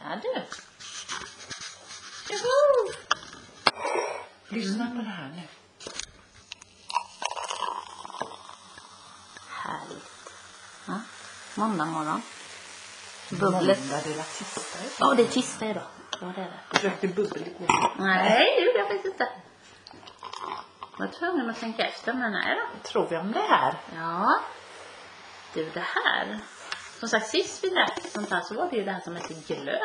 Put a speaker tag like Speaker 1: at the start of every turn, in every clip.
Speaker 1: hade. Juhu!
Speaker 2: Lyssna på det här nu.
Speaker 1: Härligt. Ja. Måndag morgon. Bubblet.
Speaker 2: Måndag det är tisdag.
Speaker 1: Ja, det är tisdag idag. Ja, det är det.
Speaker 2: Försökte bubbligt nu.
Speaker 1: Nej, det gjorde jag faktiskt inte. Jag var tvungen att tänka efter, men nej då.
Speaker 2: Tror vi om det här?
Speaker 1: Ja. Du, det här. Som sagt, sist vi drack sånt här så var det ju det här som hette glöt.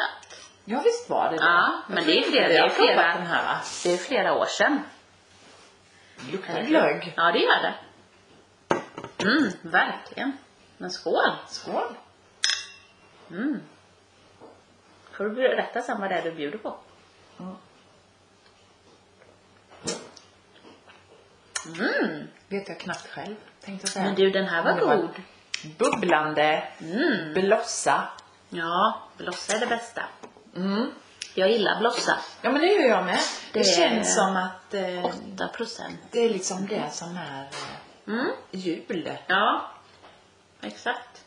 Speaker 2: Ja visst var det det.
Speaker 1: Ja, men
Speaker 2: Jag
Speaker 1: det är
Speaker 2: tror
Speaker 1: flera-
Speaker 2: inte vi
Speaker 1: det är
Speaker 2: har provat
Speaker 1: flera.
Speaker 2: den här va?
Speaker 1: Det är ju flera år sedan.
Speaker 2: Det luktar
Speaker 1: Eller?
Speaker 2: glögg.
Speaker 1: Ja, det gör det. Mm, verkligen. Men skål!
Speaker 2: Skål.
Speaker 1: Mm. Får du berätta sen vad det är du bjuder på.
Speaker 2: Mm.
Speaker 1: Mm.
Speaker 2: Vet jag knappt själv. Tänkte jag säga.
Speaker 1: Men du, den här var
Speaker 2: Men det var-
Speaker 1: god.
Speaker 2: Bubblande.
Speaker 1: Mm.
Speaker 2: Blossa.
Speaker 1: Ja, blossa är det bästa.
Speaker 2: Mm.
Speaker 1: Jag gillar blossa.
Speaker 2: Ja men det gör jag med. Det,
Speaker 1: Det-
Speaker 2: känns som att eh,
Speaker 1: 8 procent.
Speaker 2: det är liksom det som är eh,
Speaker 1: Mm.
Speaker 2: jul.
Speaker 1: Ja, exakt.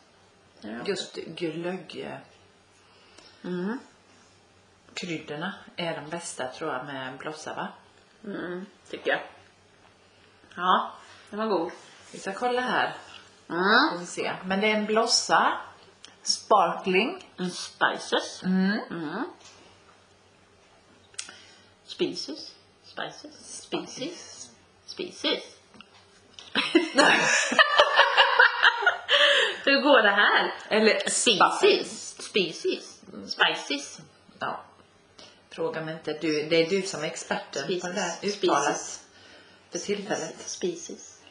Speaker 1: Ja.
Speaker 2: Just eh, glöggkryddorna
Speaker 1: Mm.
Speaker 2: är de bästa tror jag med blossa va?
Speaker 1: Mm, tycker jag. Ja, den var god.
Speaker 2: Vi ska kolla här.
Speaker 1: Mm.
Speaker 2: Får vi se. Men det är en blossa. Sparkling.
Speaker 1: Mm, Spices.
Speaker 2: Mm.
Speaker 1: Mm. Species. Spices. Species. Species. Hur går det här?
Speaker 2: Eller
Speaker 1: Species. Mm. Species. Spices.
Speaker 2: Ja. Fråga mig inte. Du, det är du som är experten på det där
Speaker 1: Species.
Speaker 2: uttalet för tillfället.
Speaker 1: Species.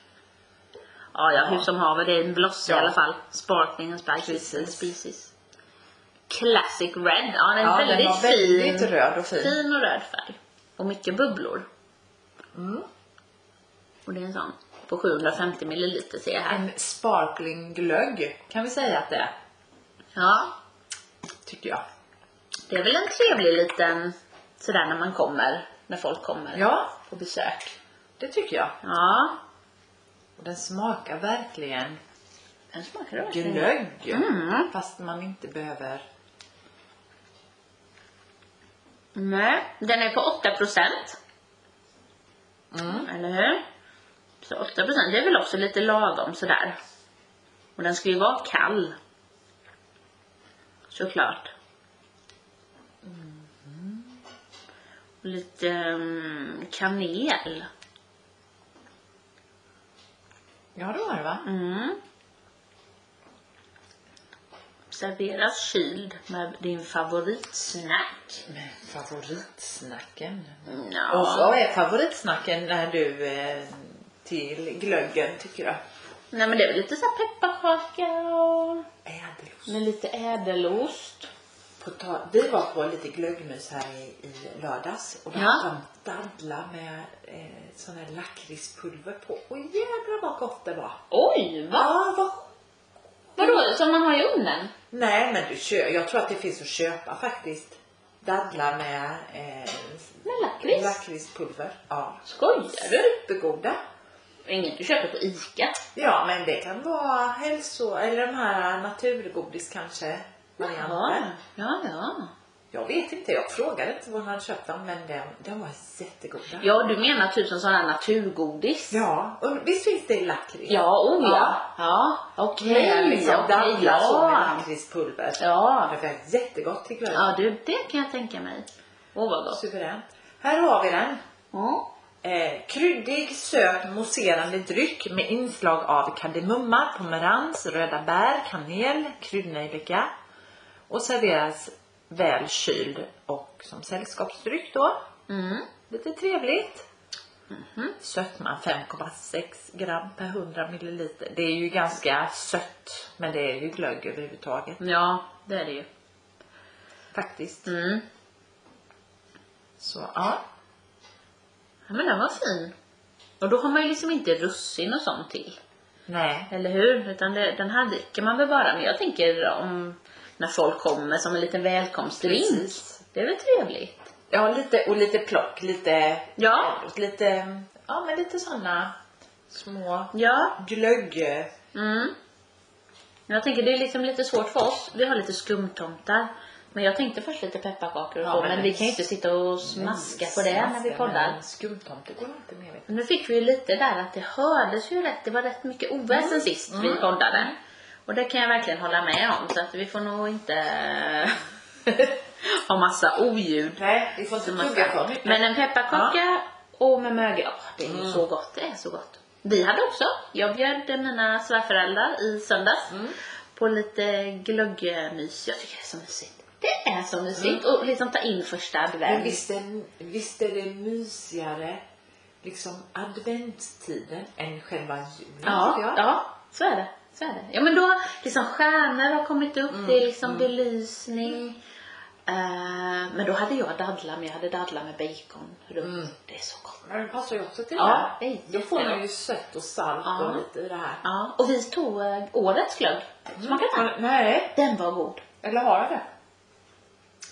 Speaker 1: Ja, ja, hur som haver. Det är en blossa i
Speaker 2: Ja.
Speaker 1: alla fall. Sparkling and spices. and
Speaker 2: Precis.
Speaker 1: Species. Classic red. Ja, den är
Speaker 2: Ja,
Speaker 1: väldigt,
Speaker 2: den var väldigt
Speaker 1: fin.
Speaker 2: röd och fin.
Speaker 1: Fin och röd färg. Och mycket bubblor.
Speaker 2: Mm.
Speaker 1: Och det är en sån på 750 milliliter ser jag här.
Speaker 2: En sparkling glögg kan vi säga att det är,
Speaker 1: Ja,
Speaker 2: tycker jag.
Speaker 1: det är väl en trevlig liten sådär när man kommer, när folk kommer
Speaker 2: Ja,
Speaker 1: på besök.
Speaker 2: det tycker jag.
Speaker 1: Ja,
Speaker 2: Och den smakar verkligen
Speaker 1: den smakar det verkligen.
Speaker 2: glögg.
Speaker 1: Mm.
Speaker 2: Fast man inte behöver.
Speaker 1: Nej, den är på 8 procent. Eller hur? Så 8 procent, det är väl också lite lagom sådär. Och den ska ju vara kall. Såklart. Och Lite mm, kanel.
Speaker 2: Ja, det var det va?
Speaker 1: Mm. Serveras kyld med din favoritsnack.
Speaker 2: Men favoritsnacken.
Speaker 1: Ja.
Speaker 2: Och vad är favoritsnacken när du eh, till glöggen tycker du?
Speaker 1: Nej men det är väl lite så här pepparkaka och
Speaker 2: Ädelost.
Speaker 1: med lite ädelost.
Speaker 2: På ta- vi var på lite glöggmys här i, i lördags och då
Speaker 1: Ja.
Speaker 2: hade de dadlar med eh, sån här lakritspulver på. Och jävlar vad gott det var!
Speaker 1: Oj! Va?
Speaker 2: Ja, vad...
Speaker 1: Vadå? Som man har i ugnen?
Speaker 2: Nej men du kö- jag tror att det finns att köpa faktiskt. Dadlar med eh,
Speaker 1: Med lakrits?
Speaker 2: lakritspulver. Ja.
Speaker 1: Skojar du?
Speaker 2: Supergoda!
Speaker 1: Inget du köper på ICA?
Speaker 2: Ja men det kan vara hälso eller de här naturgodis kanske. varianter.
Speaker 1: Ja, ja.
Speaker 2: Jag vet inte, jag frågade inte var han hade köpt dem men de, de var jättegoda.
Speaker 1: Ja, du menar typ som sådana här naturgodis?
Speaker 2: Ja, och visst finns det lakrits?
Speaker 1: Ja, oh ja.
Speaker 2: Ja.
Speaker 1: Ja, okej.
Speaker 2: Med liksom
Speaker 1: okej,
Speaker 2: dadlar så med
Speaker 1: ja.
Speaker 2: lakritspulver.
Speaker 1: ja.
Speaker 2: Det var jättegott tycker jag.
Speaker 1: Ja, du, det kan jag tänka mig. Åh, vad gott.
Speaker 2: Suveränt. Här har vi den.
Speaker 1: Ja.
Speaker 2: Eh, kryddig, söt, mousserande dryck med inslag av kardemumma, pomerans, röda bär, kanel, kryddnejlika. Och serveras väl kyld och som sällskapsdryck då.
Speaker 1: Mm. Mm-hmm.
Speaker 2: Lite trevligt. Sötma 5,6 gram per 100 milliliter. Det är ju ganska sött, men det är ju glögg överhuvudtaget
Speaker 1: Ja, det är det ju.
Speaker 2: faktiskt.
Speaker 1: Mm.
Speaker 2: Så ja,
Speaker 1: Ja, men den var fin. Och då har man ju liksom inte russin och sånt till.
Speaker 2: nej.
Speaker 1: Eller hur? Utan det, den här dricker man väl bara. Men jag tänker om när folk kommer som en liten välkomstdrink.
Speaker 2: Precis.
Speaker 1: Det är väl trevligt?
Speaker 2: Ja, lite, och lite plock, lite,
Speaker 1: Ja.
Speaker 2: lite, ja men lite sådana små
Speaker 1: Ja.
Speaker 2: glögg.
Speaker 1: Mm. Men Jag tänker det är liksom lite svårt för oss. Vi har lite skumtomtar. Men jag tänkte först lite pepparkakor och
Speaker 2: Ja,
Speaker 1: så,
Speaker 2: men
Speaker 1: men, vi
Speaker 2: det-
Speaker 1: kan ju inte sitta och smaska Mm. på det när vi
Speaker 2: Smaska,
Speaker 1: poddar.
Speaker 2: men Skumtomte går inte med. vet
Speaker 1: Men nu fick vi ju lite där att det hördes ju rätt. Det var rätt mycket oväsen sist
Speaker 2: Mm.
Speaker 1: vi poddade. Och det kan jag verkligen hålla med om. Så att vi får nog inte ha massa oljud.
Speaker 2: du. Nej, vi får inte
Speaker 1: som man
Speaker 2: tugga
Speaker 1: ska.
Speaker 2: för mycket.
Speaker 1: Men en pepparkaka och med mögel. åh, Det är ju
Speaker 2: Mm.
Speaker 1: så gott. Det är så gott. Vi hade också. Jag bjöd mina svärföräldrar i söndags
Speaker 2: Mm.
Speaker 1: på lite glöggmys. Jag tycker det är så mysigt. Det är så mysigt. Och liksom ta in första
Speaker 2: Mm. Men
Speaker 1: advent.
Speaker 2: visst är, visst är det mysigare liksom adventstiden än själva julen?
Speaker 1: Ja,
Speaker 2: tycker jag.
Speaker 1: ja, så är det. Så är det. Ja men då, liksom stjärnor har kommit upp, det är liksom belysning. Eh, men då hade jag dadlar, men jag hade dadlar med bacon runt.
Speaker 2: Mm.
Speaker 1: Det är så gott.
Speaker 2: Men den passar ju också till
Speaker 1: Ja,
Speaker 2: det här.
Speaker 1: det är
Speaker 2: Då får man
Speaker 1: jättegott.
Speaker 2: ju sött och salt
Speaker 1: Ja.
Speaker 2: och lite i det här.
Speaker 1: Ja, och vi tog eh, årets glögg. Smakade den?
Speaker 2: Mm. Nej,
Speaker 1: Den var god.
Speaker 2: eller har jag det?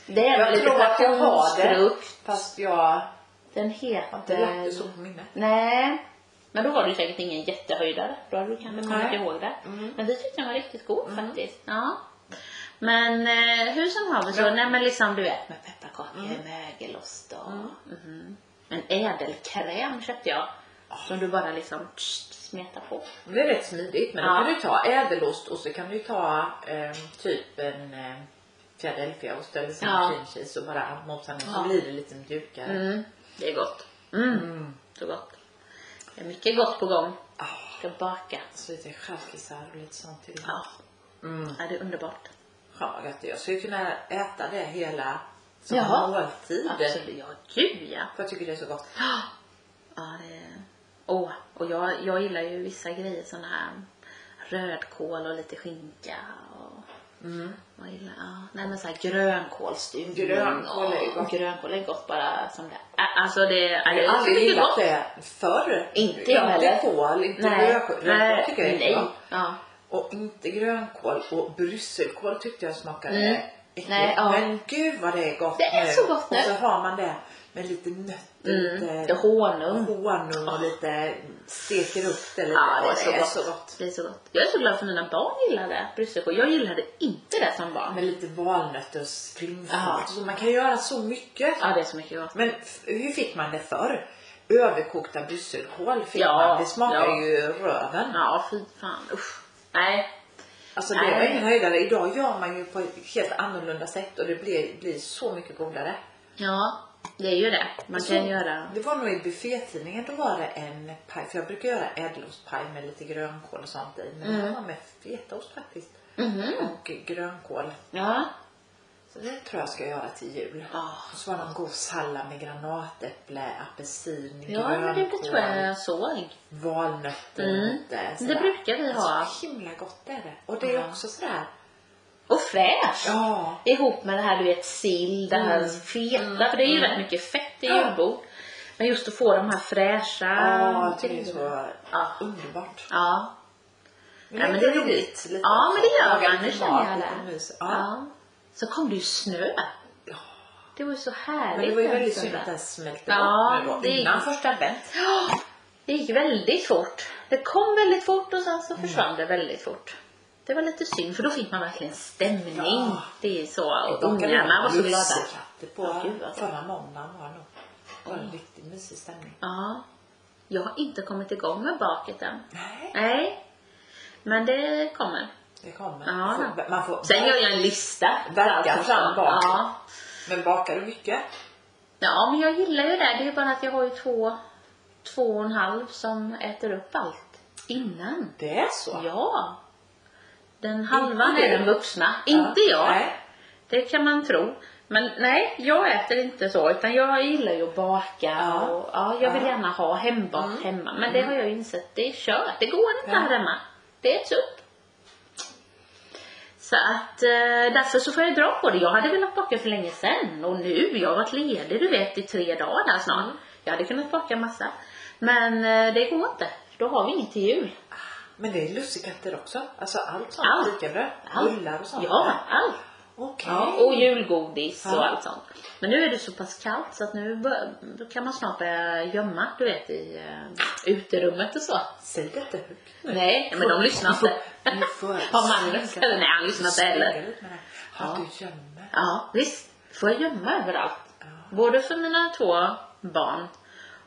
Speaker 1: Det är
Speaker 2: Jag
Speaker 1: lite
Speaker 2: tror att jag har
Speaker 1: passionsfrukt.
Speaker 2: Fast jag
Speaker 1: Den
Speaker 2: har inte lagt
Speaker 1: heter...
Speaker 2: det så på minnet.
Speaker 1: Nej. Men då var du säkert ingen jättehöjdare. Då hade du kanske kommit
Speaker 2: Nej.
Speaker 1: ihåg det.
Speaker 2: Mm.
Speaker 1: Men vi tyckte den var riktigt god
Speaker 2: Mm.
Speaker 1: faktiskt. Ja. Men eh, hur som har vi så,
Speaker 2: Men-
Speaker 1: nej men liksom du vet med pepparkakor,
Speaker 2: Mm.
Speaker 1: mögelost och...
Speaker 2: Mm.
Speaker 1: mhm. En ädelkräm köpte jag.
Speaker 2: Ah.
Speaker 1: Som du bara liksom tsch, smetar på.
Speaker 2: Det är rätt smidigt men
Speaker 1: Ja.
Speaker 2: då kan du ta ädelost och så kan du ta eh, typ en eh, Philadelphiaost eller sån
Speaker 1: Ja.
Speaker 2: cream cheese och bara mosa ner
Speaker 1: Ja.
Speaker 2: så blir det lite mjukare.
Speaker 1: Mm. Det är gott. Mm.
Speaker 2: Mm.
Speaker 1: Så gott. Det är mycket gott på gång.
Speaker 2: Ah,
Speaker 1: Ska baka.
Speaker 2: så lite stjärkisar och lite sånt till.
Speaker 1: Ja,
Speaker 2: Mm.
Speaker 1: ja det är underbart.
Speaker 2: Fan vad gött det är. Jag skulle kunna äta det hela som
Speaker 1: Jaha.
Speaker 2: måltid.
Speaker 1: Absolut. Ja, gud ja.
Speaker 2: För jag tycker det är så gott.
Speaker 1: Ja, det är... Åh, och jag, jag gillar ju vissa grejer, såna här rödkål och lite skinka och
Speaker 2: Mm.
Speaker 1: vad gillar jag? Ja, Nej men såhär grönkålstuvning.
Speaker 2: Grönkål är gott.
Speaker 1: Och grönkål är gott bara som det är. Alltså det, ja, det
Speaker 2: Jag har
Speaker 1: är så
Speaker 2: aldrig
Speaker 1: mycket
Speaker 2: gillat
Speaker 1: gott.
Speaker 2: det förr.
Speaker 1: Inte jag heller.
Speaker 2: Inte kål, inte
Speaker 1: Nej,
Speaker 2: rödkål. Rödkål
Speaker 1: nej,
Speaker 2: tycker jag är
Speaker 1: nej.
Speaker 2: gott.
Speaker 1: Ja.
Speaker 2: Och inte grönkål och brysselkål tyckte jag smakade
Speaker 1: Mm.
Speaker 2: äckligt.
Speaker 1: Nej, ja.
Speaker 2: Men gud vad det är gott
Speaker 1: Det är
Speaker 2: nu.
Speaker 1: så gott nu.
Speaker 2: Och så har man det med lite nötter,
Speaker 1: Mm, lite
Speaker 2: lite
Speaker 1: honung.
Speaker 2: honung och lite steker upp det lite.
Speaker 1: Ja, det är
Speaker 2: Och
Speaker 1: så
Speaker 2: det
Speaker 1: gott.
Speaker 2: så gott.
Speaker 1: Det är så gott. Jag är så glad för mina barn gillar det, brysselkål. Jag gillade inte det som barn.
Speaker 2: Med lite valnötter och skrimfrukt.
Speaker 1: Ja.
Speaker 2: Så man kan göra så mycket.
Speaker 1: Ja, det är så mycket gott.
Speaker 2: Men f- hur fick man det förr? Överkokta brysselkål fick
Speaker 1: Ja,
Speaker 2: man. Det smakar
Speaker 1: ja.
Speaker 2: ju röven.
Speaker 1: Ja, fy fan. Usch. Nej.
Speaker 2: Alltså det
Speaker 1: Nej.
Speaker 2: var ingen höjdare. Idag gör man ju på ett helt annorlunda sätt och det blir, blir så mycket godare.
Speaker 1: Ja, det är ju det. Man
Speaker 2: Så-
Speaker 1: kan göra
Speaker 2: Alltså, Det var nog i buffétidningen, då var det en paj, för jag brukar göra ädelostpaj med lite grönkål och sånt i. Men
Speaker 1: Mm.
Speaker 2: den var med fetaost faktiskt.
Speaker 1: Mhm.
Speaker 2: Och grönkål.
Speaker 1: Ja.
Speaker 2: Så det tror jag ska göra till jul.
Speaker 1: Ja.
Speaker 2: Och så var det en god sallad med granatäpple, apelsin,
Speaker 1: Ja, men det, det tror jag jag såg.
Speaker 2: valnötter
Speaker 1: Mm.
Speaker 2: lite. Alltså,
Speaker 1: Det brukar vi ha.
Speaker 2: Så himla gott är det. Och det är
Speaker 1: Ja.
Speaker 2: också sådär,
Speaker 1: Och fräsch!
Speaker 2: ja.
Speaker 1: Ihop med det här du vet sill, det här feta, för det är ju rätt mycket fett i
Speaker 2: Mm. Ja.
Speaker 1: julbord. Men just att få de här fräscha
Speaker 2: Ja, det är
Speaker 1: grejerna.
Speaker 2: så
Speaker 1: Ja.
Speaker 2: underbart.
Speaker 1: Ja. Ja, men
Speaker 2: lägger
Speaker 1: det är
Speaker 2: dit
Speaker 1: roligt.
Speaker 2: lite
Speaker 1: Ja,
Speaker 2: också.
Speaker 1: men det gör
Speaker 2: Lagar
Speaker 1: man.
Speaker 2: lite
Speaker 1: Nu känner
Speaker 2: mat,
Speaker 1: jag
Speaker 2: lite
Speaker 1: det.
Speaker 2: mys.
Speaker 1: ja.
Speaker 2: Ja.
Speaker 1: Så kom det ju snö.
Speaker 2: Ja.
Speaker 1: Det var ju så härligt.
Speaker 2: Men det var ju
Speaker 1: den
Speaker 2: väldigt synd
Speaker 1: söndagen.
Speaker 2: att den smälte
Speaker 1: Ja,
Speaker 2: bort nu då.
Speaker 1: det gick-
Speaker 2: Innan första advent.
Speaker 1: Ja, Det gick väldigt fort. Det kom väldigt fort och sen så
Speaker 2: Mm.
Speaker 1: försvann det väldigt fort. Det var lite synd för då fick man verkligen stämning.
Speaker 2: Ja.
Speaker 1: Det är så. Och
Speaker 2: Bakade
Speaker 1: ungarna var så glada.
Speaker 2: lussekatter på
Speaker 1: Ja, gud, alltså. Mm.
Speaker 2: förra måndagen var det nog. Det var en riktigt mysig stämning.
Speaker 1: Ja. Jag har inte kommit igång med baket än.
Speaker 2: Nej,
Speaker 1: Nej. Men det kommer.
Speaker 2: det kommer.
Speaker 1: Ja.
Speaker 2: Man får, man får,
Speaker 1: Sen gör jag en lista.
Speaker 2: Verkar
Speaker 1: Alltså,
Speaker 2: fram bak.
Speaker 1: Ja.
Speaker 2: Men bakar du mycket?
Speaker 1: ja, men jag gillar ju det. Det är ju bara att jag har ju två, två och en halv som äter upp allt innan.
Speaker 2: Det är så?
Speaker 1: Ja. Den halvan
Speaker 2: du.
Speaker 1: är den vuxna.
Speaker 2: Ja.
Speaker 1: Inte jag.
Speaker 2: Nej.
Speaker 1: Det kan man tro. Men nej, jag äter inte så. Utan jag gillar ju att baka.
Speaker 2: Ja.
Speaker 1: Och, ja, jag vill
Speaker 2: Ja.
Speaker 1: gärna ha hembakat
Speaker 2: Mm.
Speaker 1: hemma. Men det har jag ju insett, det är kört. Det går inte
Speaker 2: Ja.
Speaker 1: här hemma. Det äts upp. Så att eh, därför så får jag dra på det. Jag hade velat baka för länge sedan. Och nu, jag har varit ledig du vet i tre dagar där snart.
Speaker 2: Mm.
Speaker 1: Jag hade kunnat baka massa. Men eh, det går inte. Då har vi inget till jul.
Speaker 2: Men det är lussekatter också? Alltså allt sånt?
Speaker 1: Allt.
Speaker 2: Fikabröd?
Speaker 1: Allt.
Speaker 2: Bullar och sånt?
Speaker 1: Ja, allt.
Speaker 2: Okej.
Speaker 1: Ja, och julgodis
Speaker 2: Ja.
Speaker 1: och allt sånt. Men nu är det så pass kallt så att nu bör- då kan man snart börja gömma, du vet i eh, uterummet och så.
Speaker 2: Säg det inte högt nu.
Speaker 1: Nej, men de lyssnar inte.
Speaker 2: Nu får jag-
Speaker 1: Har Magnus, eller nej han lyssnar inte heller.
Speaker 2: Smyga lite med det. Att
Speaker 1: Ja.
Speaker 2: du gömmer.
Speaker 1: Ja, visst. Får jag gömma överallt.
Speaker 2: Ja.
Speaker 1: Både för mina två barn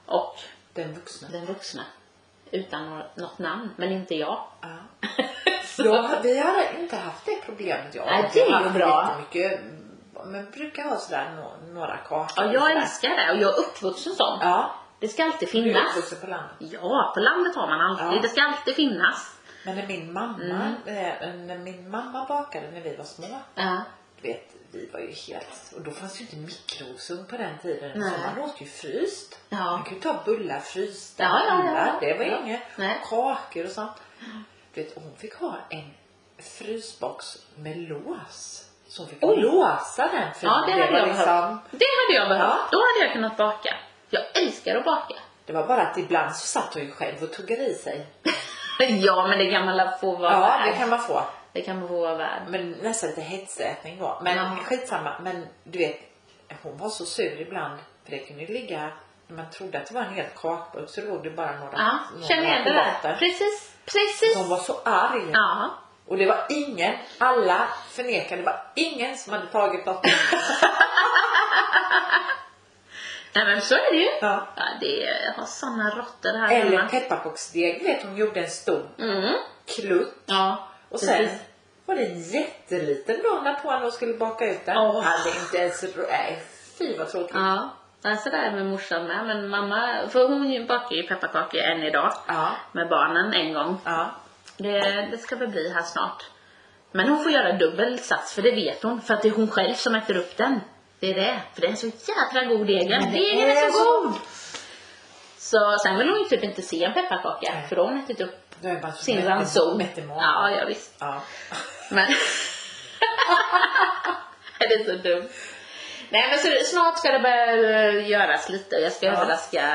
Speaker 1: och
Speaker 2: Den vuxna.
Speaker 1: den vuxna. Utan nå- något namn, men inte jag.
Speaker 2: Ja.
Speaker 1: Så.
Speaker 2: Ja, vi har inte haft det problemet. Jag
Speaker 1: Nej, det är
Speaker 2: Jag har
Speaker 1: ju
Speaker 2: haft
Speaker 1: bra.
Speaker 2: Mycket, men brukar ha sådär nå- några kakor.
Speaker 1: Ja, jag
Speaker 2: sådär.
Speaker 1: älskar det och jag är uppvuxen sån.
Speaker 2: Ja,
Speaker 1: Det ska alltid
Speaker 2: du är
Speaker 1: finnas.
Speaker 2: uppvuxen på landet.
Speaker 1: Ja, på landet har man alltid.
Speaker 2: Ja.
Speaker 1: Det ska alltid finnas.
Speaker 2: Men när min mamma,
Speaker 1: Mm.
Speaker 2: eh, när min mamma bakade när vi var små.
Speaker 1: Ja.
Speaker 2: Du vet, vi var ju helt... Och då fanns ju inte mikrosugn på den tiden.
Speaker 1: Nej.
Speaker 2: Så man åt ju fryst.
Speaker 1: Ja.
Speaker 2: Man kunde ju ta bullar frysta.
Speaker 1: Ja, ja, ja,
Speaker 2: bullar,
Speaker 1: ja.
Speaker 2: Det var
Speaker 1: Ja.
Speaker 2: inget.
Speaker 1: Nej.
Speaker 2: Kakor och sånt. Du vet, hon fick ha en frysbox med lås. Så hon fick
Speaker 1: Oj.
Speaker 2: låsa den. För
Speaker 1: Ja, det hade
Speaker 2: var
Speaker 1: jag
Speaker 2: liksom,
Speaker 1: behövt. Det hade jag behövt.
Speaker 2: Ja.
Speaker 1: Då hade jag kunnat baka. Jag älskar att baka.
Speaker 2: det var bara att ibland så satt hon ju själv och tuggade i sig.
Speaker 1: Ja, men det kan man la få vara
Speaker 2: Ja,
Speaker 1: värd.
Speaker 2: det kan man få.
Speaker 1: det kan man få vara värd.
Speaker 2: Men nästan lite hetsätning då. Men
Speaker 1: Ja.
Speaker 2: skitsamma. Men du vet, hon var så sur ibland. För det kunde ju ligga, när man trodde att det var en hel kakburk så låg det bara några,
Speaker 1: Ja,
Speaker 2: några
Speaker 1: känner igen det där. Precis, precis.
Speaker 2: Så Hon var så arg.
Speaker 1: Ja.
Speaker 2: Och det var ingen, alla förnekade, det var ingen som hade tagit något.
Speaker 1: Nej men så är det ju.
Speaker 2: Ja.
Speaker 1: Ja, det är, jag har såna råttor här
Speaker 2: Eller
Speaker 1: hemma.
Speaker 2: pepparkaksdeg, du vet hon gjorde en stor
Speaker 1: Mm.
Speaker 2: klutt.
Speaker 1: Ja,
Speaker 2: Och sen
Speaker 1: precis.
Speaker 2: var det en jätteliten donna på henne och skulle baka ut den.
Speaker 1: Åh.
Speaker 2: Hade inte ens, nej fy vad tråkigt.
Speaker 1: Ja. Nej, så där är med morsan med. Men mamma, för hon ju bakar ju pepparkakor än idag.
Speaker 2: Ja.
Speaker 1: Med barnen en gång.
Speaker 2: ja.
Speaker 1: Det, det ska väl bli här snart. Men hon får göra dubbel sats för det vet hon. För att det är hon själv som äter upp den. Det är det. För det är en så jädra god degen.
Speaker 2: Men det
Speaker 1: Degen
Speaker 2: är
Speaker 1: är så
Speaker 2: så
Speaker 1: god! Så sen vill hon ju typ inte se en pepparkaka.
Speaker 2: Nej.
Speaker 1: För då har hon ätit upp
Speaker 2: Då är det bara
Speaker 1: sin
Speaker 2: mätte-
Speaker 1: ranson.
Speaker 2: mätte mat.
Speaker 1: Ja, ja visst.
Speaker 2: Ja.
Speaker 1: Men... det är så dumt. Nej men så snart ska det börja eh, göras lite. Jag ska
Speaker 2: Ja.
Speaker 1: överraska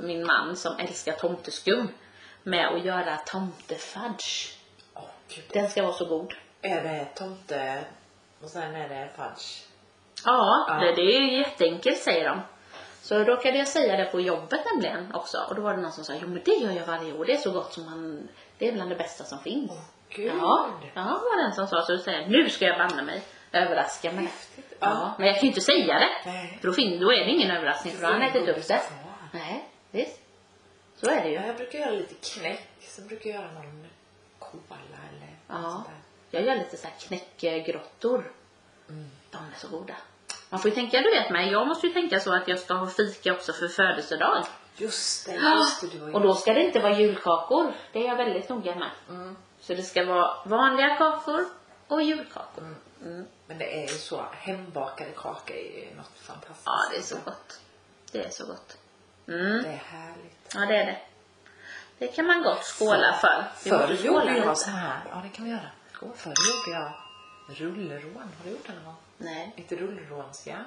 Speaker 1: min man som älskar tomteskum med att göra tomtefudge.
Speaker 2: Åh gud.
Speaker 1: Den ska vara så god.
Speaker 2: Är det tomte och sen är det fudge?
Speaker 1: Ja,
Speaker 2: Ja.
Speaker 1: Det, det är ju jätteenkelt säger de. Så råkade jag säga det på jobbet nämligen också och då var det någon som sa jo men det gör jag varje år, det är så gott som man, det är bland det bästa som finns.
Speaker 2: Åh gud.
Speaker 1: Ja, ja, var den som sa så. säger jag, nu ska jag banne mig överraska med det.
Speaker 2: Häftigt. Ja.
Speaker 1: Ja, men jag kan ju inte säga det.
Speaker 2: Nej.
Speaker 1: För då, fin- då är det ingen överraskning för då har han ätit upp det. Nej, visst. Så är det
Speaker 2: Ja,
Speaker 1: ju.
Speaker 2: jag brukar göra lite knäck. Sen brukar jag göra någon koala eller något
Speaker 1: Ja.
Speaker 2: sånt där.
Speaker 1: Jag gör lite så här knäckegrottor.
Speaker 2: Mm.
Speaker 1: De är så goda. Man får ju tänka, du vet mig, jag måste ju tänka så att jag ska ha fika också för födelsedag.
Speaker 2: Just det, just det. Du har ju...
Speaker 1: Och då ska det inte vara julkakor. Det är jag väldigt noga med.
Speaker 2: Mm.
Speaker 1: Så det ska vara vanliga kakor och julkakor.
Speaker 2: Men det är ju så, hembakade kakor är ju något fantastiskt.
Speaker 1: Ja, det är så gott. Det är så gott. Mm.
Speaker 2: Det är härligt.
Speaker 1: Ja, det är det. Det kan man gott skåla för. Vi
Speaker 2: Förr
Speaker 1: måste skåla
Speaker 2: gjorde
Speaker 1: lite.
Speaker 2: jag så här. Ja, det kan vi göra. Förr gjorde jag rullrån. Har du gjort det någon gång?
Speaker 1: Nej.
Speaker 2: Lite rullrånsjärn.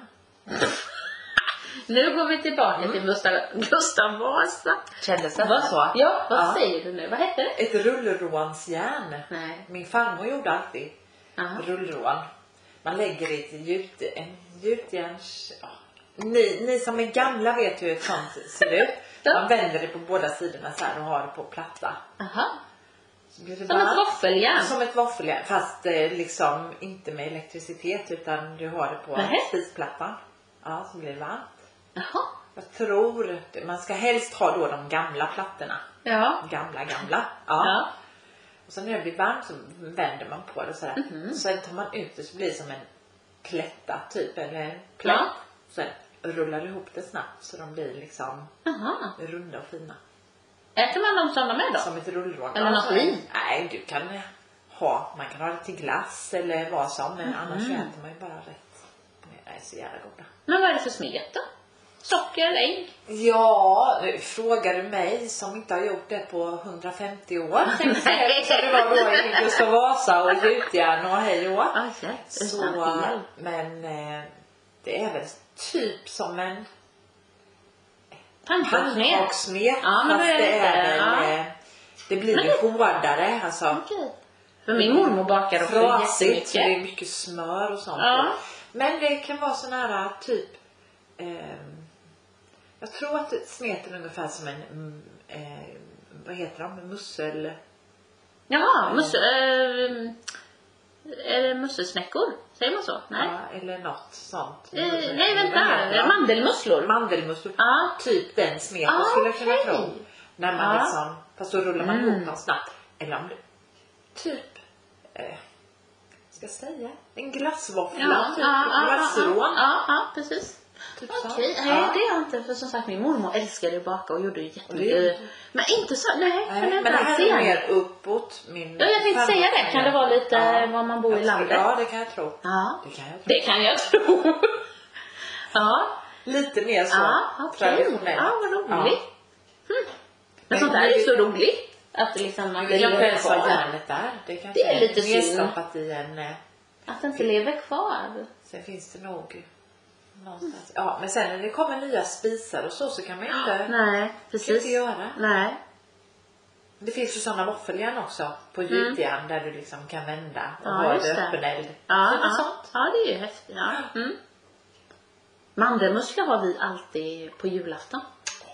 Speaker 1: Nu går vi tillbaka till Gustav, Gustav Vasa.
Speaker 2: Kändes
Speaker 1: Vad- Ja, vad
Speaker 2: Ja.
Speaker 1: säger du nu? Vad heter det?
Speaker 2: Ett rullrånsjärn.
Speaker 1: Nej.
Speaker 2: Min farmor gjorde alltid
Speaker 1: Ja.
Speaker 2: rullrån. Man lägger det i ett gjut, en gjutjärns... Ja. Ni, ni som är gamla vet ju hur ett sånt ser ut.
Speaker 1: Ja.
Speaker 2: Man vänder det på båda sidorna så här och har det på platta.
Speaker 1: Aha.
Speaker 2: Så blir det
Speaker 1: Som ett
Speaker 2: bara-
Speaker 1: våffeljärn.
Speaker 2: Som ett våffeljärn. Fast eh, liksom inte med elektricitet utan du har det på
Speaker 1: Nähä.
Speaker 2: spisplattan. Ja, så blir det varmt.
Speaker 1: Jaha.
Speaker 2: Jag tror, det- man ska helst ha då de gamla plattorna.
Speaker 1: Ja.
Speaker 2: Gamla, gamla.
Speaker 1: Ja.
Speaker 2: Och sen när det blir varmt så vänder man på det sådär.
Speaker 1: Mhm.
Speaker 2: Sen tar man ut det så blir det som en plätta typ, eller en plätt.
Speaker 1: Ja.
Speaker 2: Sen rullar du ihop det snabbt så de blir liksom
Speaker 1: Jaha.
Speaker 2: runda och fina.
Speaker 1: Äter man dem som de är då?
Speaker 2: Som ett rullrån.
Speaker 1: Eller något
Speaker 2: så-
Speaker 1: i?
Speaker 2: Nej, du kan eh, ha, man kan ha det till glass eller vad som. Men
Speaker 1: Mhm.
Speaker 2: annars så äter man ju bara rätt. Det är så jävla goda.
Speaker 1: Men vad är det för smet då? Socker, ägg?
Speaker 2: Ja, nu frågar du mig som inte har gjort det på 150 år. tänkte jag säga, Eftersom det var då i Gustav Vasa och gjutjärn och hej och hå.
Speaker 1: Aj, hjälp. Utan
Speaker 2: Så,
Speaker 1: el.
Speaker 2: men eh, det är väl typ som en
Speaker 1: Pannkakssmet.
Speaker 2: pannkakssmet.
Speaker 1: Ja, men
Speaker 2: fast
Speaker 1: det är
Speaker 2: det är
Speaker 1: lite,
Speaker 2: väl,
Speaker 1: ja.
Speaker 2: eh, det blir ju hårdare. Alltså,
Speaker 1: Okej. För min mormor bakar också
Speaker 2: frasigt. Det är
Speaker 1: Alltså, jättemycket.
Speaker 2: mycket smör och sånt.
Speaker 1: Ja.
Speaker 2: Men det kan vara sån här typ ehm, jag tror att smeten är ungefär som en mm, eh, vad heter de? Mussel...
Speaker 1: Jaha, mus- eh, Är det musselsnäckor? Säger man så? Nej.
Speaker 2: Ja, eller något sånt.
Speaker 1: Eh, nej,
Speaker 2: Eller
Speaker 1: vänta.
Speaker 2: heter det?
Speaker 1: Mandelmusslor.
Speaker 2: Mandelmusslor.
Speaker 1: Ja.
Speaker 2: Typ den smeten
Speaker 1: Ah,
Speaker 2: skulle jag kunna
Speaker 1: okej.
Speaker 2: tro. När man
Speaker 1: Ja.
Speaker 2: liksom, fast då rullar man
Speaker 1: Mm.
Speaker 2: ihop dem snabbt. Eller om det, typ, eh, ska jag säga, en glassvåffla,
Speaker 1: Ja,
Speaker 2: typ
Speaker 1: ja, ja,
Speaker 2: glassrån.
Speaker 1: ja, ja, ja, precis.
Speaker 2: Typ så.
Speaker 1: Okej, nej
Speaker 2: ja.
Speaker 1: det är jag inte. För som sagt min mormor älskade att baka och gjorde ju
Speaker 2: Och det
Speaker 1: jättemycket. Men inte så, nej. för
Speaker 2: Nej,
Speaker 1: det
Speaker 2: men
Speaker 1: är inte
Speaker 2: det
Speaker 1: alls
Speaker 2: här är
Speaker 1: igen.
Speaker 2: mer uppåt. Min
Speaker 1: Ja, jag tänkte säga det. Kan det vara lite
Speaker 2: Ja.
Speaker 1: var man bor i
Speaker 2: Jag tror-
Speaker 1: landet?
Speaker 2: Ja, det kan jag tro.
Speaker 1: Ja,
Speaker 2: Det kan jag tro.
Speaker 1: det kan jag tro. ja,
Speaker 2: Lite mer så
Speaker 1: ja okej.
Speaker 2: traditionellt.
Speaker 1: Ja, vad roligt. Mm. Men
Speaker 2: Men
Speaker 1: sånt där
Speaker 2: det-
Speaker 1: är ju så roligt. Att det liksom man
Speaker 2: Det
Speaker 1: blir
Speaker 2: är inte ens vad
Speaker 1: kvar.
Speaker 2: järnet är. Det,
Speaker 1: Det är lite synd.
Speaker 2: nedstoppat i en... eh,
Speaker 1: Att det inte lever kvar.
Speaker 2: Sen finns det nog någonstans. Ja, men sen när det kommer nya spisar och så så kan man ju inte, kan
Speaker 1: Nej,
Speaker 2: ju inte
Speaker 1: precis.
Speaker 2: göra.
Speaker 1: Nej.
Speaker 2: Det finns ju sådana våffeljärn också på gjutjärn där du liksom kan vända och
Speaker 1: Mm. Ja,
Speaker 2: ha
Speaker 1: just
Speaker 2: det
Speaker 1: det.
Speaker 2: öppen eld.
Speaker 1: Ja,
Speaker 2: Sådana
Speaker 1: ja.
Speaker 2: sånt.
Speaker 1: ja, det är ju häftigt. Ja. Mm. Mandelmusslor har vi alltid på julafton.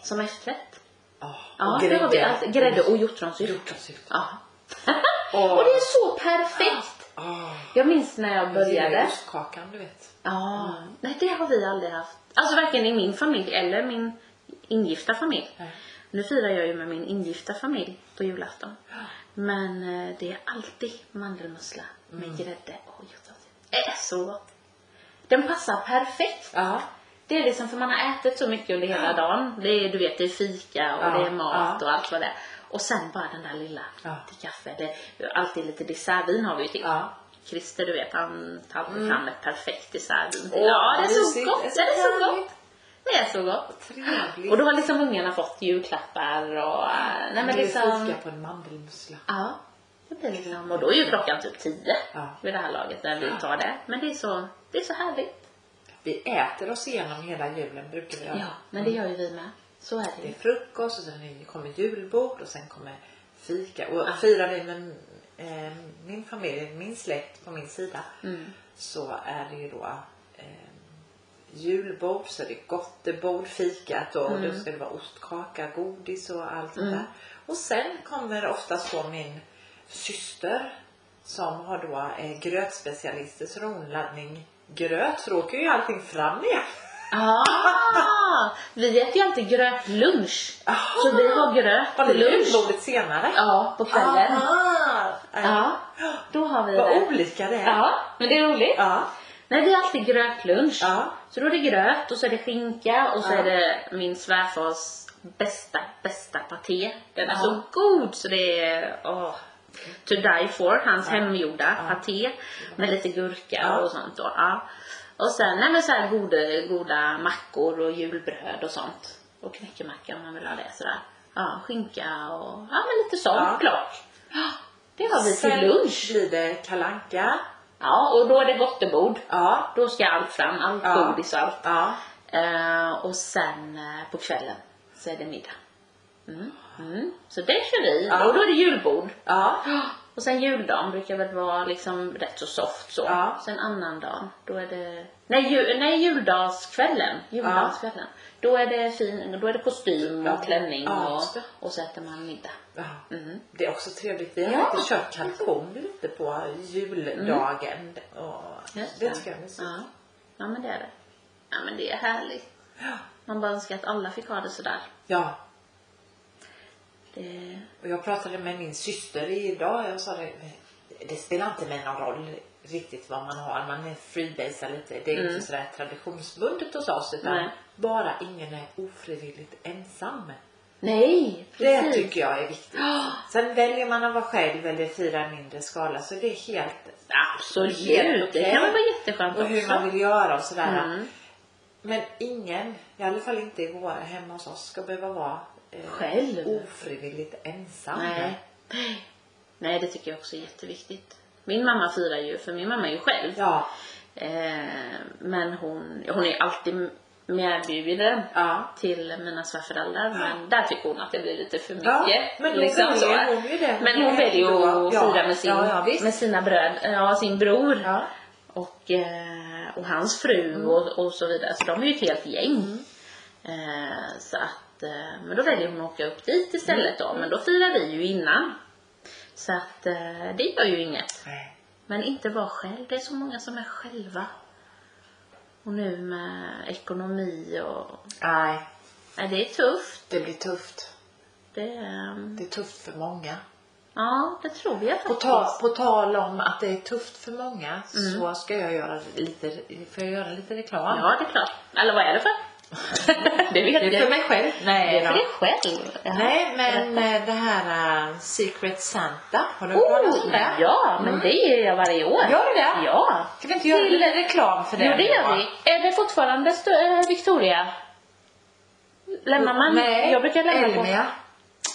Speaker 1: Som efterrätt.
Speaker 2: Ja,
Speaker 1: Ja,
Speaker 2: Ah, och
Speaker 1: det har vi alltid. Grädde Mm. och
Speaker 2: och
Speaker 1: hjortronsylt.
Speaker 2: hjortronsylt.
Speaker 1: Ja.
Speaker 2: Åh.
Speaker 1: Och det är så perfekt.
Speaker 2: Ah,
Speaker 1: Jag minns när jag
Speaker 2: jag gillar ju
Speaker 1: började.
Speaker 2: ostkakan du vet.
Speaker 1: Ja, Mm. nej det har vi aldrig haft. Alltså varken i min familj eller min ingifta familj.
Speaker 2: Nej.
Speaker 1: Nu firar jag ju med min ingifta familj på julafton. Men eh, det är alltid mandelmussla med
Speaker 2: Mm.
Speaker 1: grädde och hjortronsylt. Det är så gott. Den passar perfekt.
Speaker 2: Ja,
Speaker 1: Det är liksom för man har ätit så mycket under hela dagen. Det är, du vet, det är fika och
Speaker 2: Ja,
Speaker 1: det är mat
Speaker 2: ja.
Speaker 1: och allt vad det är. Och sen bara den där lilla
Speaker 2: Ja.
Speaker 1: till kaffe. Det är alltid lite dessertvin har vi ju till.
Speaker 2: ja.
Speaker 1: Christer, du vet, han tar alltid fram ett perfekt dessertvin.
Speaker 2: Mm. Åh,
Speaker 1: ja, det är så
Speaker 2: mysigt.
Speaker 1: gott!
Speaker 2: Det är
Speaker 1: Det
Speaker 2: så
Speaker 1: är så
Speaker 2: härligt.
Speaker 1: gott! Det är så gott!
Speaker 2: Trevligt.
Speaker 1: Och då har liksom ungarna fått julklappar och... eh, Nej men
Speaker 2: Du är
Speaker 1: liksom...
Speaker 2: fika på en mandelmussla.
Speaker 1: Ja. Det blir liksom... Och då är ju klockan typ tio
Speaker 2: Ja.
Speaker 1: vid det här laget när vi tar det. Men det är så, det är så härligt.
Speaker 2: Vi äter oss igenom hela julen brukar vi
Speaker 1: Ja,
Speaker 2: göra.
Speaker 1: men det gör ju vi med. Så är det
Speaker 2: Mm. Det
Speaker 1: ju.
Speaker 2: är frukost och sen kommer julbord och sen kommer fika. Och firar vi med eh, min familj, min släkt på min sida så är det ju då eh, julbord, så är det gottebord, fikat och då ska det vara ostkaka, godis och allt sånt där. Och sen kommer oftast då min syster som har då eh, grötspecialister så rundladdning gröt så då åker ju allting fram igen.
Speaker 1: Ah, vi äter ju alltid grötlunch.
Speaker 2: Aha.
Speaker 1: Så vi har gröt
Speaker 2: Var Ah. det
Speaker 1: till lunch.
Speaker 2: julbordet senare?
Speaker 1: Ja, på kvällen.
Speaker 2: Aha. Ja.
Speaker 1: Ja, då har vi
Speaker 2: Ah. Vad
Speaker 1: det.
Speaker 2: olika det är.
Speaker 1: Ja, men det är roligt.
Speaker 2: Ja.
Speaker 1: Nej, det är alltid grötlunch.
Speaker 2: Ja.
Speaker 1: Så då är det gröt och så är det skinka och så
Speaker 2: Ja.
Speaker 1: är det min svärfars bästa, bästa paté. Den är
Speaker 2: Ja.
Speaker 1: så god så det är, åh. To die for, hans hemgjorda paté med lite gurka
Speaker 2: Ja.
Speaker 1: och sånt då. Ja. Och sen, nej men så här goda, goda mackor och julbröd och sånt. Och knäckemacka om man vill ha det sådär. Ja, skinka och, ja men lite sånt
Speaker 2: Ja.
Speaker 1: klart. Ja, Det har vi
Speaker 2: Sen
Speaker 1: till lunch.
Speaker 2: blir det kalanka.
Speaker 1: Ja, och då är det gottebord.
Speaker 2: Ja.
Speaker 1: Då ska allt fram, allt
Speaker 2: Ja.
Speaker 1: godis och allt.
Speaker 2: Ja.
Speaker 1: Eh, och sen eh, på kvällen så är det middag. Mm. Mm. Så det kör vi.
Speaker 2: Ja.
Speaker 1: Och då är det julbord.
Speaker 2: Ja.
Speaker 1: Och sen juldagen brukar väl vara liksom rätt så soft så.
Speaker 2: Ja.
Speaker 1: Sen annan dag, då är det... Nej, ju, nej juldagskvällen. Juldagskvällen. Då är det fin, då är det kostym
Speaker 2: Ja.
Speaker 1: och klänning
Speaker 2: Ja,
Speaker 1: och,
Speaker 2: just det.
Speaker 1: och så äter man middag.
Speaker 2: ja.
Speaker 1: Mm.
Speaker 2: Det är också trevligt. Vi har
Speaker 1: Ja.
Speaker 2: lite kört kalkon lite på juldagen. Och
Speaker 1: Mm. Just
Speaker 2: det
Speaker 1: det.
Speaker 2: tycker jag är mysigt.
Speaker 1: Ja. ja, men det är det. Ja, men det är härligt. Man bara önskar att alla fick ha det sådär.
Speaker 2: Ja.
Speaker 1: Det...
Speaker 2: Och jag pratade med min syster idag. Jag sa det, det spelar inte mig någon roll riktigt vad man har. Man är freebasar lite. Det är inte sådär traditionsbundet hos oss. Utan
Speaker 1: Mm. Nej.
Speaker 2: bara ingen är ofrivilligt ensam.
Speaker 1: Nej,
Speaker 2: Det
Speaker 1: precis.
Speaker 2: tycker jag är viktigt. Sen väljer man att vara själv eller fira i mindre skala. Så det är helt... Helt
Speaker 1: Absolut,
Speaker 2: okej.
Speaker 1: det kan väl vara jätteskönt
Speaker 2: Och hur
Speaker 1: också.
Speaker 2: man vill göra och sådär.
Speaker 1: Mm.
Speaker 2: Men ingen, i alla fall inte i våra, hemma hos oss, ska behöva vara eh,
Speaker 1: Själv.
Speaker 2: ofrivilligt ensam.
Speaker 1: Nej. Nej, det tycker jag också är jätteviktigt. Min mamma firar ju, för min mamma är ju själv.
Speaker 2: Ja.
Speaker 1: Eh, men hon, hon är ju alltid medbjuden
Speaker 2: Ja.
Speaker 1: till mina svärföräldrar. Men där tycker hon att det blir lite för
Speaker 2: Ja,
Speaker 1: mycket. Liksom
Speaker 2: men då väljer hon ju det.
Speaker 1: Men hon väljer ju att
Speaker 2: Ja,
Speaker 1: fira med, sin,
Speaker 2: ja, ja, visst.
Speaker 1: med sina bröd, ja, sin bror.
Speaker 2: Ja.
Speaker 1: och, eh, och hans fru
Speaker 2: Mm.
Speaker 1: och, och så vidare. Så de är ju ett helt gäng. Eh, så att, eh, men då väljer hon att åka upp dit
Speaker 2: Mm.
Speaker 1: istället då. Men då firar vi ju innan. Så att eh, det gör ju inget.
Speaker 2: Nej.
Speaker 1: Men inte vara själv. Det är så många som är själva. Och nu med ekonomi och...
Speaker 2: Nej,
Speaker 1: Nej, det är tufft.
Speaker 2: det blir tufft.
Speaker 1: Det, är-
Speaker 2: Det är tufft för många.
Speaker 1: ja, det tror jag
Speaker 2: På,
Speaker 1: faktiskt.
Speaker 2: ta, på tal om att det är tufft för många så ska jag göra lite, får jag göra lite reklam?
Speaker 1: Mm. Ja, det är klart. Eller vad är det för? det vet
Speaker 2: Det är
Speaker 1: jag.
Speaker 2: för mig själv.
Speaker 1: Det
Speaker 2: Nej,
Speaker 1: är för
Speaker 2: då.
Speaker 1: dig själv. Ja.
Speaker 2: Nej men eh, det här eh, Secret Santa, har du hört talas om det?
Speaker 1: ja, Oh, men det gör jag varje år.
Speaker 2: Gör du det?
Speaker 1: Mm. Ja.
Speaker 2: Ska vi inte göra
Speaker 1: Till-
Speaker 2: lite reklam för det?
Speaker 1: Jo, det
Speaker 2: då?
Speaker 1: gör vi. Är det fortfarande stö- eh, Victoria? Lämnar man?
Speaker 2: Nej,
Speaker 1: jag brukar lämna på
Speaker 2: Elmia.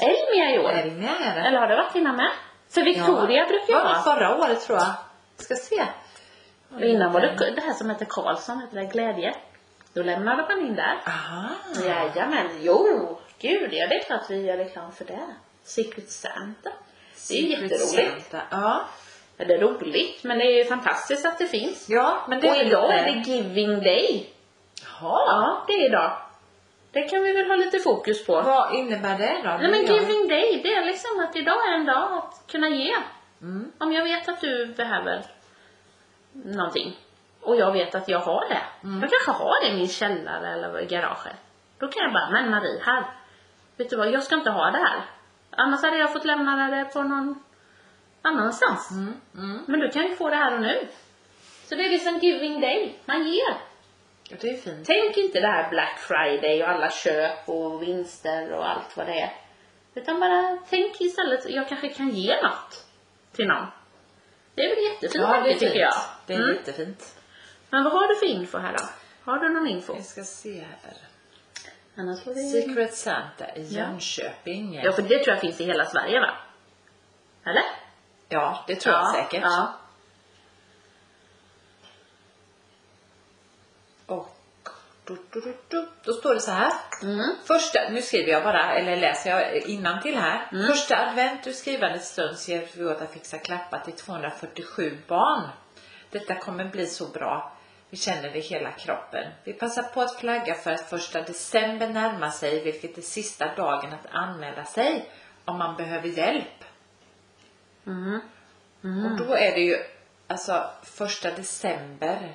Speaker 1: Elmia i år.
Speaker 2: Elmia är det.
Speaker 1: Eller har det varit innan med? För Victoria brukar jag
Speaker 2: Var det
Speaker 1: vara.
Speaker 2: förra året tror jag. Ska se.
Speaker 1: Och innan var det det här som heter Karlsson, heter det Glädje. Då lämnade man in där.
Speaker 2: Aha.
Speaker 1: Jajamän, jo, gud ja, det är klart vi gör reklam för det. Secret Santa. Det är ju
Speaker 2: Secret
Speaker 1: jätteroligt.
Speaker 2: Santa. Ja.
Speaker 1: Ja, Det är roligt, men det är ju fantastiskt att det finns.
Speaker 2: ja, men det
Speaker 1: Och
Speaker 2: väl
Speaker 1: idag
Speaker 2: lite-
Speaker 1: är det Giving Day.
Speaker 2: Jaha.
Speaker 1: Ja, det är idag. Det kan vi väl ha lite fokus på.
Speaker 2: Vad innebär det då?
Speaker 1: Nej men
Speaker 2: Ja.
Speaker 1: giving day, det är liksom att idag är en dag att kunna ge.
Speaker 2: Mm.
Speaker 1: Om jag vet att du behöver någonting och jag vet att jag har det.
Speaker 2: Mm.
Speaker 1: Jag kanske har det i min källare eller i garaget. Då kan jag bara, men Marie, här. Vet du vad, jag ska inte ha det här. Annars hade jag fått lämna det på någon annanstans.
Speaker 2: Mm. Mm.
Speaker 1: Men du kan ju få det här och nu. Så det är liksom giving day, man ger.
Speaker 2: Ja, Det är fint.
Speaker 1: Tänk inte det här Black Friday och alla köp och vinster och allt vad det är. Utan bara tänk istället, jag kanske kan ge något till någon. Det är väl jättefint
Speaker 2: Ja, det är
Speaker 1: tycker jag.
Speaker 2: fint. Det är
Speaker 1: Mm.
Speaker 2: jättefint.
Speaker 1: Men vad har du för info här då? Har du någon info?
Speaker 2: Vi ska se här.
Speaker 1: Annars får vi...
Speaker 2: Secret Santa i Jönköping.
Speaker 1: Ja, för det tror jag finns i hela Sverige va? Eller?
Speaker 2: Ja, det tror jag säkert.
Speaker 1: Ja.
Speaker 2: Och du, du, du, du. då står det så här.
Speaker 1: Mm.
Speaker 2: Första, nu skriver jag bara, eller läser jag innan till här.
Speaker 1: Mm.
Speaker 2: Första advent ur skrivandets stund så hjälps vi åt att fixa klappar till 247 barn. Detta kommer bli så bra. Vi känner det i hela kroppen. Vi passar på att flagga för att första december närmar sig, vilket är sista dagen att anmäla sig om man behöver hjälp.
Speaker 1: Mm.
Speaker 2: Och då är det ju, alltså första december,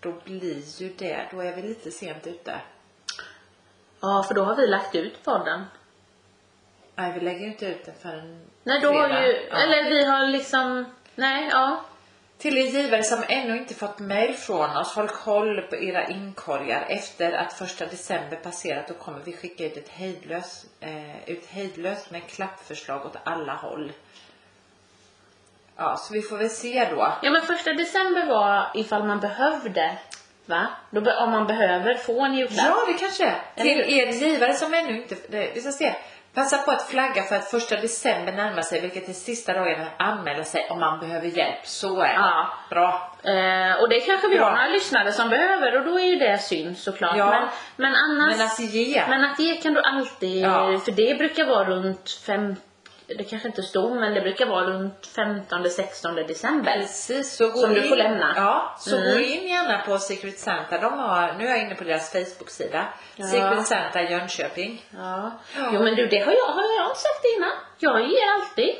Speaker 2: då blir ju det, då är vi lite sent ute.
Speaker 1: Ja, för då har vi lagt ut podden.
Speaker 2: Nej, vi lägger ju inte ut den förrän
Speaker 1: Nej, då har
Speaker 2: fredag.
Speaker 1: ju...
Speaker 2: Ja.
Speaker 1: Eller vi har liksom... Nej, ja.
Speaker 2: Till er givare som ännu inte fått mejl från oss, håll koll på era inkorgar. Efter att första december passerat då kommer vi skicka ut ett hejdlöst, eh, ut hejdlöst med klappförslag åt alla håll. Ja, så vi får väl se då.
Speaker 1: Ja men första december var ifall man behövde, va? Då be- om man behöver få en julklapp.
Speaker 2: Ja, det kanske är. Till
Speaker 1: Eller
Speaker 2: er givare som ännu inte... det- Vi ska se. Passa på att flagga för att första december närmar sig, vilket är sista dagen att anmäla sig om man behöver hjälp. Så är det.
Speaker 1: Ja.
Speaker 2: Bra.
Speaker 1: Eh, och det kanske vi
Speaker 2: Ja.
Speaker 1: har några lyssnare som behöver och då är ju det synd såklart.
Speaker 2: Ja.
Speaker 1: Men, men annars,
Speaker 2: Men att ge.
Speaker 1: men att det kan du alltid,
Speaker 2: Ja.
Speaker 1: för det brukar vara runt fem, det kanske inte stod men det brukar vara runt 15-16 december.
Speaker 2: Precis, så gå
Speaker 1: Som
Speaker 2: in.
Speaker 1: du får lämna.
Speaker 2: Ja, så
Speaker 1: Mm.
Speaker 2: gå in gärna på Secret Santa. De har, nu är jag inne på deras Facebook-sida.
Speaker 1: Ja.
Speaker 2: Secret Santa Jönköping.
Speaker 1: Ja.
Speaker 2: Ja.
Speaker 1: Jo men du det har jag, har jag inte sagt innan. Jag ger alltid.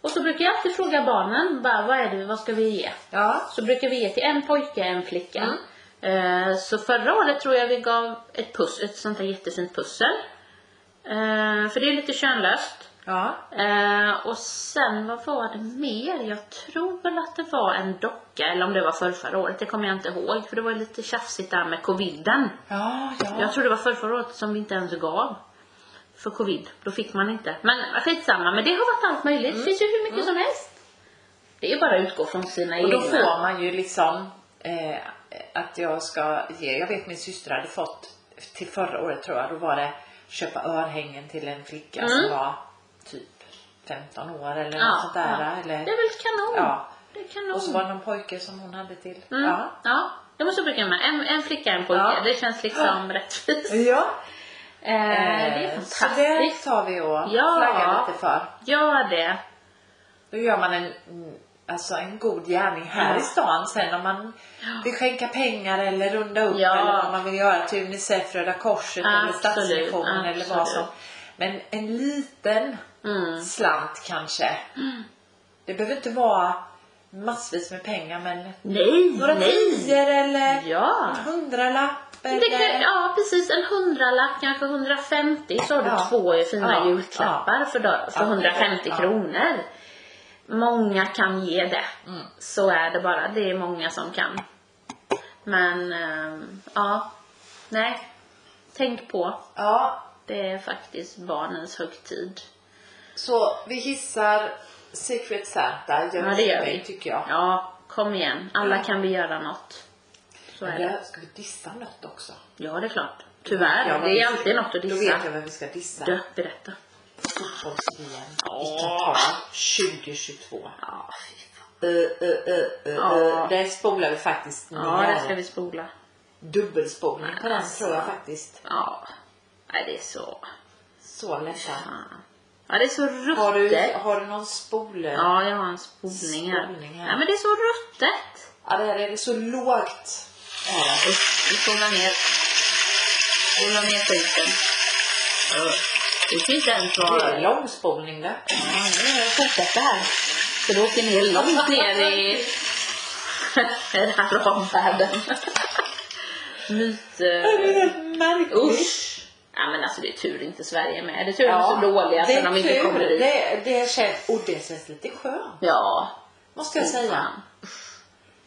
Speaker 1: Och så brukar jag alltid fråga barnen, bara, vad är det, vad ska vi ge?
Speaker 2: Ja.
Speaker 1: så brukar vi ge till en pojke en flicka.
Speaker 2: Mm.
Speaker 1: Eh, Så förra året tror jag vi gav ett, puss, ett sånt här jättefint pussel. Eh, För det är lite könlöst.
Speaker 2: Ja.
Speaker 1: Eh, Och sen vad var det mer? Jag tror väl att det var en docka eller om det var förrförra året. Det kommer jag inte ihåg för det var ju lite tjafsigt där med coviden.
Speaker 2: Ja, ja.
Speaker 1: Jag tror det var förrförra året som vi inte ens gav. För covid, då fick man inte. Men skitsamma, men det har varit allt möjligt.
Speaker 2: Mm.
Speaker 1: Det finns ju hur mycket som helst. Det är bara att utgå från sina
Speaker 2: Och då
Speaker 1: egna.
Speaker 2: får man ju liksom eh, att jag ska ge, jag vet min syster hade fått till förra året tror jag, då var det köpa örhängen till en flicka som var typ 15 år eller
Speaker 1: Mm. Ja,
Speaker 2: något sånt där.
Speaker 1: ja.
Speaker 2: Eller,
Speaker 1: Det är väl kanon.
Speaker 2: Ja.
Speaker 1: Det är kanon.
Speaker 2: Och så var det någon pojke som hon hade till.
Speaker 1: mm.
Speaker 2: Ja.
Speaker 1: ja. ja. Det måste brukar med. En, en flicka, en pojke.
Speaker 2: Ja.
Speaker 1: Det känns liksom rättvist.
Speaker 2: ja.
Speaker 1: Eh, det är
Speaker 2: Så det
Speaker 1: fantastiskt.
Speaker 2: tar vi och
Speaker 1: Ja.
Speaker 2: flaggar lite för.
Speaker 1: Gör det.
Speaker 2: Då gör man en, mm, alltså en god gärning här
Speaker 1: Ja.
Speaker 2: i stan sen om man vill skänka pengar eller runda upp
Speaker 1: Ja.
Speaker 2: eller vad man vill göra till Unicef, Röda Korset eller
Speaker 1: Absolut,
Speaker 2: Stadsmissionen eller vad som.
Speaker 1: absolut.
Speaker 2: Men en liten
Speaker 1: Mm.
Speaker 2: slant kanske. Det behöver inte vara massvis med pengar men
Speaker 1: Nej,
Speaker 2: några
Speaker 1: nej.
Speaker 2: tior eller
Speaker 1: Ja.
Speaker 2: en hundralapp eller...
Speaker 1: Det kan, ja, precis. En hundralapp, kanske 150, så har du
Speaker 2: Ja.
Speaker 1: två fina
Speaker 2: Ja,
Speaker 1: julklappar för, då, för
Speaker 2: Ja,
Speaker 1: 150
Speaker 2: ja.
Speaker 1: kronor. Många kan ge det.
Speaker 2: Mm.
Speaker 1: Så är det bara. Det är många som kan. Men, ehm, ja. Nej. Tänk på.
Speaker 2: Ja,
Speaker 1: Det är faktiskt barnens högtid.
Speaker 2: så vi hissar Secret Santa i
Speaker 1: Ja, det gör
Speaker 2: Jönköping
Speaker 1: vi.
Speaker 2: tycker jag.
Speaker 1: Ja, kom igen. Alla
Speaker 2: Ja.
Speaker 1: kan vi göra något. Så är
Speaker 2: Men
Speaker 1: det.
Speaker 2: där ska vi dissa något också?
Speaker 1: Ja, det är klart. Tyvärr.
Speaker 2: Ja,
Speaker 1: det är alltid något att
Speaker 2: Då vet jag
Speaker 1: dissa.
Speaker 2: vem vi ska dissa.
Speaker 1: Du, berätta.
Speaker 2: Fotbolls-VM i
Speaker 1: Åh.
Speaker 2: Qatar 2022.
Speaker 1: Ja,
Speaker 2: Uh, uh, uh, uh,
Speaker 1: Ja.
Speaker 2: uh. Där spolar vi faktiskt
Speaker 1: ja
Speaker 2: ner.
Speaker 1: det ska vi Alltså. spola.
Speaker 2: Dubbelspolning på den tror jag faktiskt.
Speaker 1: Ja. Nej, det är så...
Speaker 2: Så ledsen.
Speaker 1: Fan. Ja, det är så ruttet.
Speaker 2: Har du, har du någon spol?
Speaker 1: Ja, jag har en spolning här.
Speaker 2: Spolning här.
Speaker 1: Ja, men det är så ruttet.
Speaker 2: Ja, det här är så lågt. Är det.
Speaker 1: Vi spolar ner. Spola ner skiten. Ja. Det finns en kvar.
Speaker 2: Det är lång spolning det.
Speaker 1: Ja, nu fortsätter här. Så det åker ner långt ner i den här ramvärlden. Myt... eh,
Speaker 2: Märkligt.
Speaker 1: Usch! Ja men alltså det är tur inte Sverige är med. Det är tur de är så dåliga så de inte kommer dit.
Speaker 2: Det, det känns, och det känns lite skönt.
Speaker 1: Ja.
Speaker 2: Måste jag säga.
Speaker 1: Fan. Usch.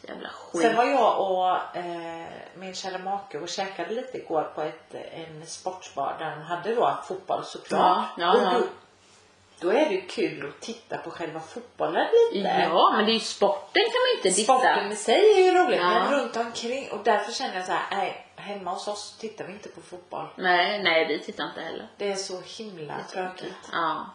Speaker 1: Jävla skit.
Speaker 2: Sen var jag och eh, min kära make och käkade lite igår på ett, en sportbar där de hade då fotboll såklart.
Speaker 1: Ja, ja,
Speaker 2: och
Speaker 1: ja.
Speaker 2: Då, då är det ju kul att titta på själva fotbollen lite.
Speaker 1: Ja men det är ju sporten kan man ju inte dissa.
Speaker 2: Sporten i sig är ju roligt
Speaker 1: Ja.
Speaker 2: men runt omkring och därför känner jag så här, nej hemma hos oss tittar vi inte på fotboll.
Speaker 1: Nej, nej vi tittar inte heller.
Speaker 2: Det är så himla tråkigt.
Speaker 1: Ja.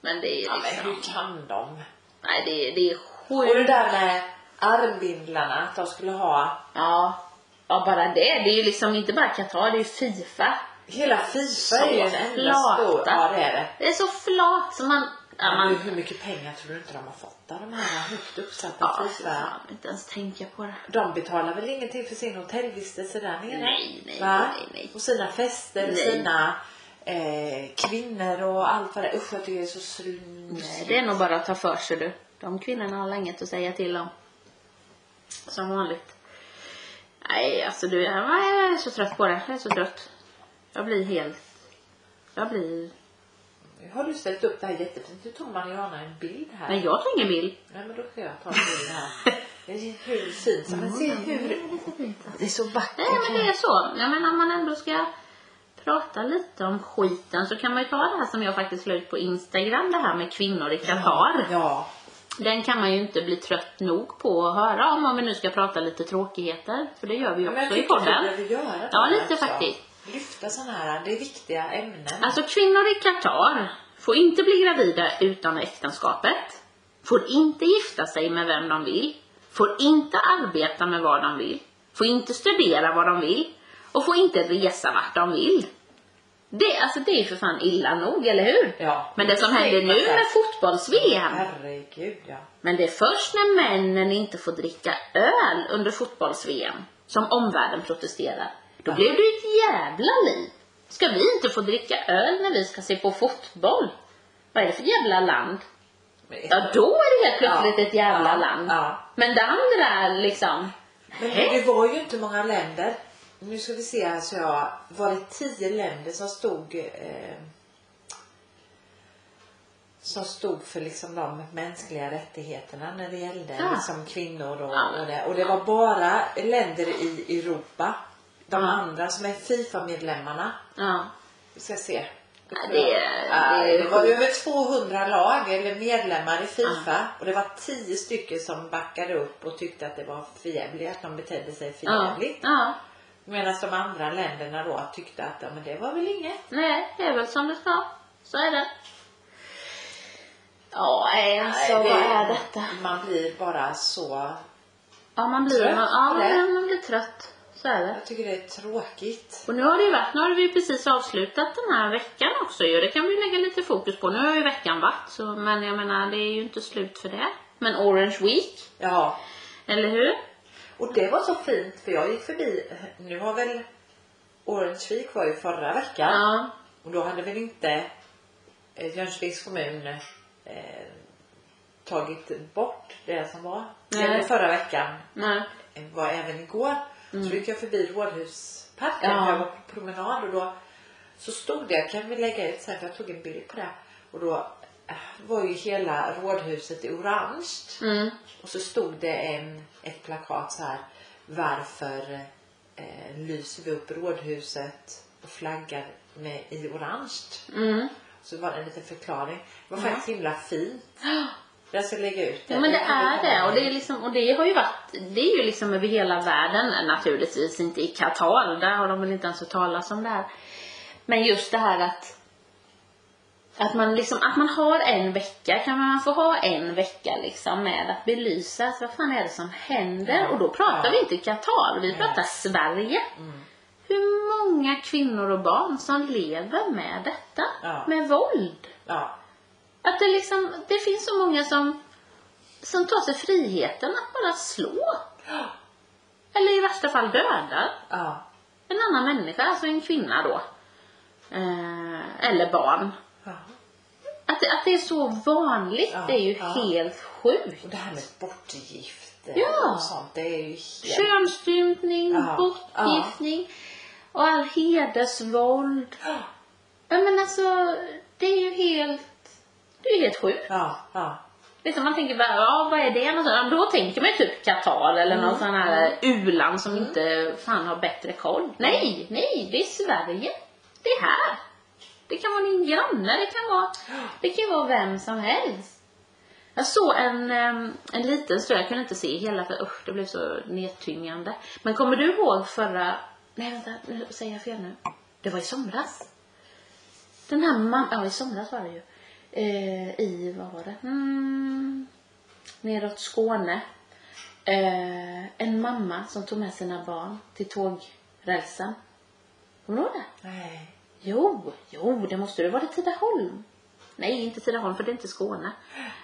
Speaker 1: Men det är
Speaker 2: Ja, men
Speaker 1: liksom...
Speaker 2: hur kan de?
Speaker 1: Nej det är, det är
Speaker 2: Och det
Speaker 1: sjukt.
Speaker 2: där med armbindlarna, att de skulle ha
Speaker 1: Ja. Ja bara det. Det är ju liksom inte bara Qatar, det är ju Fifa.
Speaker 2: hela Fifa är ju en enda
Speaker 1: flata.
Speaker 2: stor... Ja det är det.
Speaker 1: Det är så flat som man... Ja,
Speaker 2: Men
Speaker 1: man
Speaker 2: hur mycket pengar tror du inte de har fått där de här högt uppsatta
Speaker 1: ja, fy
Speaker 2: Fifa?
Speaker 1: fan, inte ens tänka på det.
Speaker 2: De betalar väl ingenting för sin hotellvistelse där nere?
Speaker 1: Nej, nej,
Speaker 2: Va?
Speaker 1: nej, nej.
Speaker 2: Och sina fester,
Speaker 1: Nej.
Speaker 2: sina eh, kvinnor och allt vad det är. Usch jag tycker det är så
Speaker 1: Nej,
Speaker 2: slut.
Speaker 1: det är nog bara att ta för sig du. De kvinnorna har inget att säga till om. Som vanligt. Nej, alltså du, jag jag är så trött på det. Jag är så trött. Jag blir helt... Jag blir...
Speaker 2: Nu har du ställt upp det här jättefint. Nu tog Mariana en bild här.
Speaker 1: Men jag tog ingen bild.
Speaker 2: Nej men då ska jag ta en bild här. Det är hur fint som men se hur... Det är så vackert.
Speaker 1: Nej, men det är så. Jag menar, om man ändå ska prata lite om skiten så kan man ju ta det här som jag faktiskt la ut på Instagram, det här med kvinnor i Qatar.
Speaker 2: Ja.
Speaker 1: Den kan man ju inte bli trött nog på att höra om, om vi nu ska prata lite tråkigheter. För det gör vi ju
Speaker 2: Men jag
Speaker 1: också i
Speaker 2: tycker typ att vi
Speaker 1: podden.
Speaker 2: behöver göra det
Speaker 1: Ja,
Speaker 2: här
Speaker 1: lite
Speaker 2: också.
Speaker 1: faktiskt.
Speaker 2: Lyfta sådana här, det är viktiga ämnen.
Speaker 1: Alltså kvinnor i Qatar får inte bli gravida utan äktenskapet, får inte gifta sig med vem de vill, får inte arbeta med vad de vill, får inte studera vad de vill och får inte resa vart de vill. Det, alltså det är ju för fan illa nog, eller hur?
Speaker 2: Ja.
Speaker 1: Men det som händer nu med fotbolls-VM,
Speaker 2: Herregud ja.
Speaker 1: men det är först när männen inte får dricka öl under fotbolls-VM som omvärlden protesterar. Då blev det ju ett jävla liv. Ska vi inte få dricka öl när vi ska se på fotboll? Vad är det för jävla land?
Speaker 2: Men,
Speaker 1: Ja, då är det helt plötsligt
Speaker 2: Ja.
Speaker 1: ett jävla
Speaker 2: Ja.
Speaker 1: land.
Speaker 2: Ja.
Speaker 1: Men det andra liksom...
Speaker 2: men
Speaker 1: Nej.
Speaker 2: det var ju inte många länder. Nu ska vi se här så jag, var det tio länder som stod eh, som stod för liksom de mänskliga rättigheterna när det gällde
Speaker 1: Ja.
Speaker 2: liksom kvinnor och,
Speaker 1: Ja.
Speaker 2: och det. Och det var bara länder i Europa. De
Speaker 1: Ja.
Speaker 2: andra som är Fifa-medlemmarna.
Speaker 1: Ja.
Speaker 2: Vi ska se.
Speaker 1: Ja, det är-
Speaker 2: Ja,
Speaker 1: det är
Speaker 2: var
Speaker 1: sjukt.
Speaker 2: över 200 lag eller medlemmar i Fifa och det var 10 stycken som backade upp och tyckte att det var förjävligt att de betedde sig
Speaker 1: Ja.
Speaker 2: förjävligt.
Speaker 1: ja.
Speaker 2: Medan de andra länderna då tyckte att ja, men det var väl inget.
Speaker 1: Nej, det är väl som det ska. Så är det. Ja, nej, alltså
Speaker 2: Nej,
Speaker 1: vad
Speaker 2: det-
Speaker 1: är detta?
Speaker 2: Man blir bara så...
Speaker 1: Ja, man blir,
Speaker 2: Trött
Speaker 1: ja,
Speaker 2: på det.
Speaker 1: man, man blir trött. Så är det.
Speaker 2: Jag tycker det är tråkigt.
Speaker 1: Och nu har det ju varit, nu har vi ju precis avslutat den här veckan också ju. Det kan vi ju lägga lite fokus på. Nu har ju veckan varit så, men jag menar det är ju inte slut för det. Men Orange Week,
Speaker 2: Ja.
Speaker 1: eller hur?
Speaker 2: Och det var så fint för jag gick förbi, nu har väl Orange Week var ju förra veckan.
Speaker 1: Ja.
Speaker 2: Och då hade väl inte eh, Jönköpings kommun eh, tagit bort det som var.
Speaker 1: Nej.
Speaker 2: Eller förra veckan eh,
Speaker 1: Nej.
Speaker 2: var även igår. Så gick jag förbi Rådhusparken.
Speaker 1: Mm. Ja.
Speaker 2: Jag var på promenad och då så stod det, kan vi lägga ut sen för jag tog en bild på det. Och då eh, var ju hela Rådhuset i orange.
Speaker 1: Mm.
Speaker 2: Och så stod det en, ett plakat så här. Varför eh, lyser vi upp Rådhuset och flaggar med, i orange?
Speaker 1: Mm.
Speaker 2: Så var det en liten förklaring. Det var faktiskt himla fint. Jag ska lägga ut det.
Speaker 1: Ja men det
Speaker 2: kan vi
Speaker 1: är
Speaker 2: komma
Speaker 1: det och det, är
Speaker 2: ihåg.
Speaker 1: liksom, och det har ju varit, det är ju liksom över hela världen naturligtvis, inte i Qatar, där har de väl inte ens hört talas om det här. Men just det här att att man, liksom, att man har en vecka, kan man få ha en vecka liksom med att belysa att vad fan är det som händer?
Speaker 2: Ja.
Speaker 1: Och då pratar
Speaker 2: Ja.
Speaker 1: vi inte Qatar, vi
Speaker 2: Nej.
Speaker 1: pratar Sverige.
Speaker 2: Mm.
Speaker 1: Hur många kvinnor och barn som lever med detta?
Speaker 2: Ja.
Speaker 1: Med våld?
Speaker 2: Ja.
Speaker 1: Att det liksom, det finns så många som, som tar sig friheten att bara slå. Eller i värsta fall döda
Speaker 2: Ja.
Speaker 1: en annan människa, alltså en kvinna då. Eh, eller barn.
Speaker 2: ja.
Speaker 1: Att, det- att det är så vanligt,
Speaker 2: Ja,
Speaker 1: det är ju
Speaker 2: ja.
Speaker 1: helt sjukt.
Speaker 2: Och det här med bortgifte
Speaker 1: Ja.
Speaker 2: och sånt. Det är ju helt...
Speaker 1: Könsstympning,
Speaker 2: Ja,
Speaker 1: bortgiftning och all hedersvåld.
Speaker 2: Ja.
Speaker 1: Ja, men alltså, det är ju helt, det är ju helt sjukt.
Speaker 2: Ja. Ja.
Speaker 1: Liksom man tänker bara, ja vad är det någonstans? Ja, men Då tänker man ju typ Qatar eller någon sån här u-land som inte fan har bättre koll. Nej, nej, det är Sverige. Det är här. Det kan vara din granne, det kan vara, det kan ju vara vem som helst. Jag såg en, ehm, en liten stund, jag kunde inte se hela för usch, det blev så nedtyngande. Men kommer du ihåg förra, nej vänta, nu säger jag fel nu. Det var i somras. Den här mamman, ja i somras var det ju. Eh, I, vad var det? Mm, neråt Skåne. Eh, en mamma som tog med sina barn till tågrälsen. Kommer du ihåg det?
Speaker 2: Nej.
Speaker 1: Jo, jo, det måste det. Var det Tidaholm? Nej, inte Tidaholm för det är inte Skåne.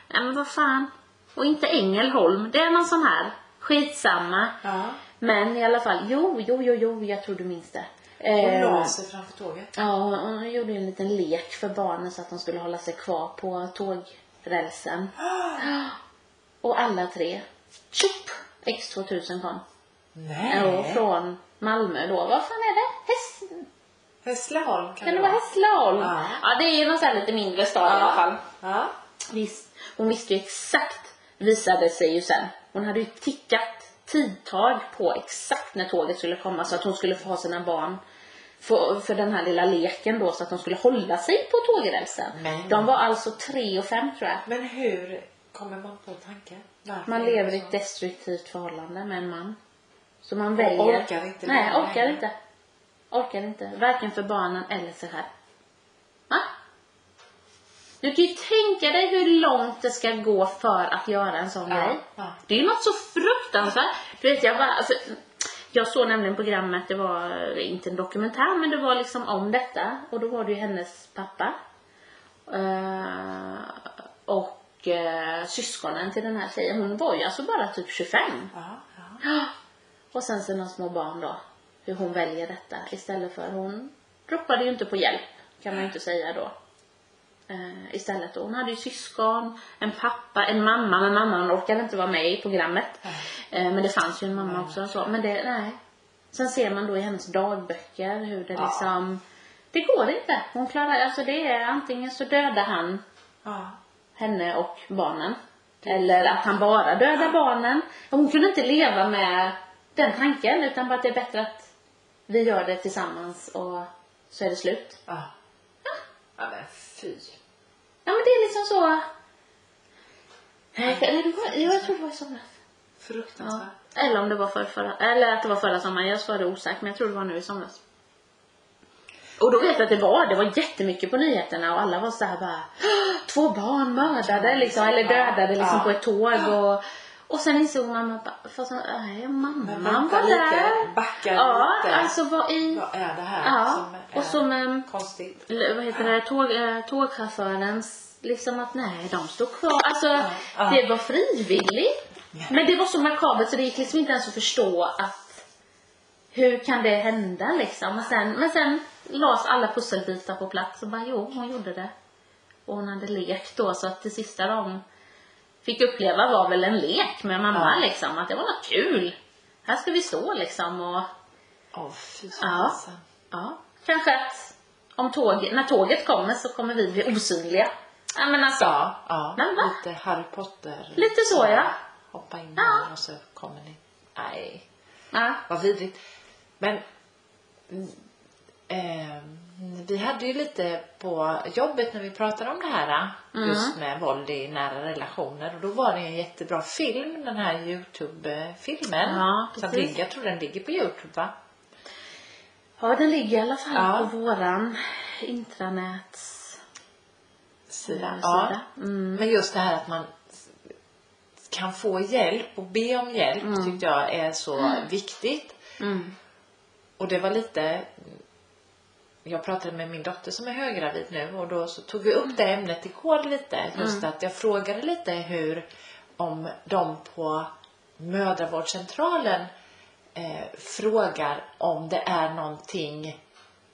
Speaker 1: Nej, men vad fan. Och inte Ängelholm. Det är någon sån här. Skitsamma.
Speaker 2: Ja.
Speaker 1: Men i alla fall, jo, jo, jo, jo, jag tror du minns det.
Speaker 2: Och
Speaker 1: Eh,
Speaker 2: la sig framför tåget.
Speaker 1: Ja, hon- hon gjorde ju en liten lek för barnen så att de skulle hålla sig kvar på tågrälsen. Och alla tre, tjopp, X2000 kom. Ja,
Speaker 2: Nej.
Speaker 1: från Malmö då. Vad fan är det? Häss...
Speaker 2: Hässleholm kan
Speaker 1: Kan det vara Hässleholm?
Speaker 2: Ja.
Speaker 1: ja, det är ju någon sån här lite mindre stad i alla fall.
Speaker 2: Ja.
Speaker 1: Visst, hon visste ju exakt, visade sig ju sen. Hon hade ju tickat tidtag på exakt när tåget skulle komma så att hon skulle få ha sina barn för, för den här lilla leken då så att de skulle hålla sig på tågrälsen.
Speaker 2: Men-
Speaker 1: De var alltså tre och fem tror jag.
Speaker 2: Men hur kommer man på tanken? Varför
Speaker 1: Man
Speaker 2: är det
Speaker 1: lever i
Speaker 2: så?
Speaker 1: ett destruktivt förhållande med en man. Så man
Speaker 2: Och
Speaker 1: väljer.
Speaker 2: orkar inte
Speaker 1: Nej,
Speaker 2: längre.
Speaker 1: orkar inte. Orkar inte. Varken för barnen eller sig själv. Va? Du kan ju tänka dig hur långt det ska gå för att göra en sån
Speaker 2: Ja,
Speaker 1: grej.
Speaker 2: ja.
Speaker 1: Det är ju något så fruktansvärt. Du vet, jag bara, alltså, jag såg nämligen programmet, det var eh, inte en dokumentär men det var liksom om detta och då var det ju hennes pappa eh, och eh, syskonen till den här tjejen. Hon var ju alltså bara typ 25.
Speaker 2: Ja. Ja.
Speaker 1: Och sen sina små barn då. Hur hon väljer detta istället för hon ropade ju inte på hjälp kan man ju inte säga då. Eh, istället då. Hon hade ju syskon, en pappa, en mamma men mamman orkade inte vara med i programmet. Eh, men det fanns ju en mamma också och så. Men det, nej. Sen ser man då i hennes dagböcker hur det
Speaker 2: Ja.
Speaker 1: liksom det går inte. Hon klarar, alltså det är antingen så dödar han
Speaker 2: ja.
Speaker 1: henne och barnen. Eller att han bara dödar barnen. Hon kunde inte leva med den tanken utan bara att det är bättre att vi gör det tillsammans och så är det slut.
Speaker 2: Ja. Ja men fy.
Speaker 1: Ja men det är liksom så... Nej, eller det var- ja, Jag tror det var i somras. Ja.
Speaker 2: Fruktansvärt.
Speaker 1: Eller om det var för, förra, eller att det var förra sommaren. Jag svarade osäkert men jag tror det var nu i somras. Och då vet jag att det var, det var jättemycket på nyheterna och alla var så här bara "Åh, Två barn mördade liksom, eller dödade liksom
Speaker 2: Ja.
Speaker 1: på ett tåg och Och sen insåg man att bara, fast, nej,
Speaker 2: Men
Speaker 1: mamman
Speaker 2: vänta
Speaker 1: var där.
Speaker 2: lite. Backa
Speaker 1: Ja,
Speaker 2: lite.
Speaker 1: alltså vad i...
Speaker 2: Vad är det här
Speaker 1: Ja,
Speaker 2: som är
Speaker 1: och som ehm,
Speaker 2: konstigt?
Speaker 1: Eller vad heter det, tåg, eh, tågchaufförens, liksom att nej, de stod kvar. Alltså,
Speaker 2: ja.
Speaker 1: det var frivilligt.
Speaker 2: Nej.
Speaker 1: Men det var så makabert så det gick liksom inte ens att förstå att hur kan det hända liksom? Men sen, men sen lades alla pusselbitar på plats och bara jo, hon gjorde det. Och hon hade lekt då så att det sista de fick uppleva var väl en lek med mamma liksom. Att det var något kul. Här ska vi stå liksom och
Speaker 2: Åh, fy
Speaker 1: Ja.
Speaker 2: fasen.
Speaker 1: ja, kanske att om tåg, när tåget kommer så kommer vi bli osynliga. Ja, men alltså,
Speaker 2: Ja, ja.
Speaker 1: Men va?
Speaker 2: lite Harry Potter.
Speaker 1: Lite så, ja.
Speaker 2: Hoppa in
Speaker 1: Ja.
Speaker 2: och så kommer ni. Nej,
Speaker 1: ja.
Speaker 2: vad vidrigt. Men mm, ehm, vi hade ju lite på jobbet när vi pratade om det här. äh,
Speaker 1: Mm.
Speaker 2: Just med våld i nära relationer. Och då var det en jättebra film, den här Youtube-filmen.
Speaker 1: Ja,
Speaker 2: som
Speaker 1: precis.
Speaker 2: ligger, jag tror den ligger på Youtube va?
Speaker 1: ja, den ligger i alla fall
Speaker 2: Ja.
Speaker 1: på våran intranäts...
Speaker 2: sida.
Speaker 1: Sida.
Speaker 2: Mm. Men just det här att man s- kan få hjälp och be om hjälp tyckte jag är så viktigt.
Speaker 1: Mm.
Speaker 2: Och det var lite jag pratade med min dotter som är höggravid nu och då så tog vi upp det ämnet igår lite. Just att jag frågade lite hur om de på mödravårdscentralen eh, frågar om det är någonting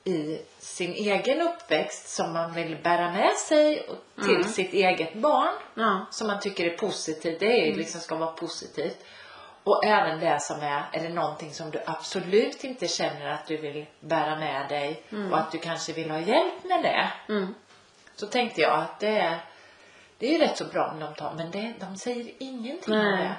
Speaker 2: i sin egen uppväxt som man vill bära med sig och till sitt eget barn
Speaker 1: Ja.
Speaker 2: som man tycker är positivt. Det
Speaker 1: Mm.
Speaker 2: är ju liksom ska vara positivt. Och även det som är, är det någonting som du absolut inte känner att du vill bära med dig och att du kanske vill ha hjälp med det.
Speaker 1: Mm.
Speaker 2: Så tänkte jag att det är, det är ju rätt så bra om de tar, men det, de säger ingenting om
Speaker 1: Nej.
Speaker 2: det.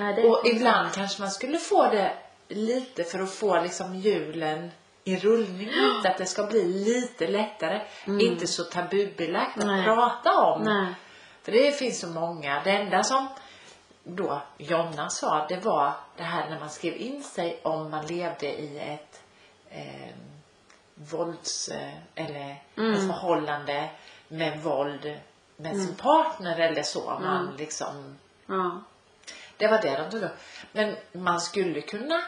Speaker 1: Nej, det är
Speaker 2: Och ibland kanske man skulle få det lite för att få liksom hjulen i rullning lite, att det ska bli lite lättare. Inte så tabubelagt att
Speaker 1: Mm. Nej.
Speaker 2: prata om.
Speaker 1: Nej.
Speaker 2: För det finns så många. Det enda som då Jonna sa, det var det här när man skrev in sig om man levde i ett eh, vålds eh, eller ett förhållande med våld med sin partner eller så. Om Man liksom,
Speaker 1: Ja.
Speaker 2: det var det de tog upp. Men man skulle kunna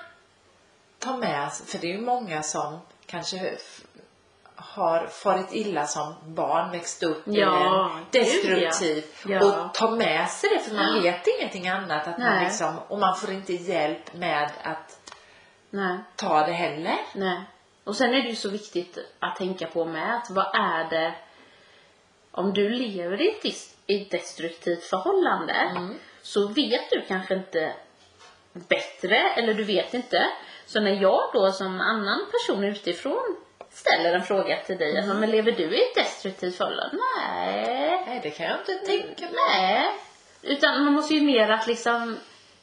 Speaker 2: ta med, för det är ju många som kanske f- har farit illa som barn, växt upp
Speaker 1: Ja,
Speaker 2: i en
Speaker 1: gud,
Speaker 2: destruktiv
Speaker 1: ja. Ja.
Speaker 2: och ta med sig det för man vet ingenting annat att man
Speaker 1: Nej.
Speaker 2: liksom, och man får inte hjälp med att
Speaker 1: Nej.
Speaker 2: ta det heller.
Speaker 1: Nej. Och sen är det ju så viktigt att tänka på med att vad är det om du lever i ett, dis- i ett destruktivt förhållande så vet du kanske inte bättre eller du vet inte. Så när jag då som annan person utifrån ställer en fråga till dig, alltså, men lever du i ett destruktivt förhållande? Nej.
Speaker 2: Nej, det kan jag inte tänka mig.
Speaker 1: Nej. Utan man måste ju mer att liksom,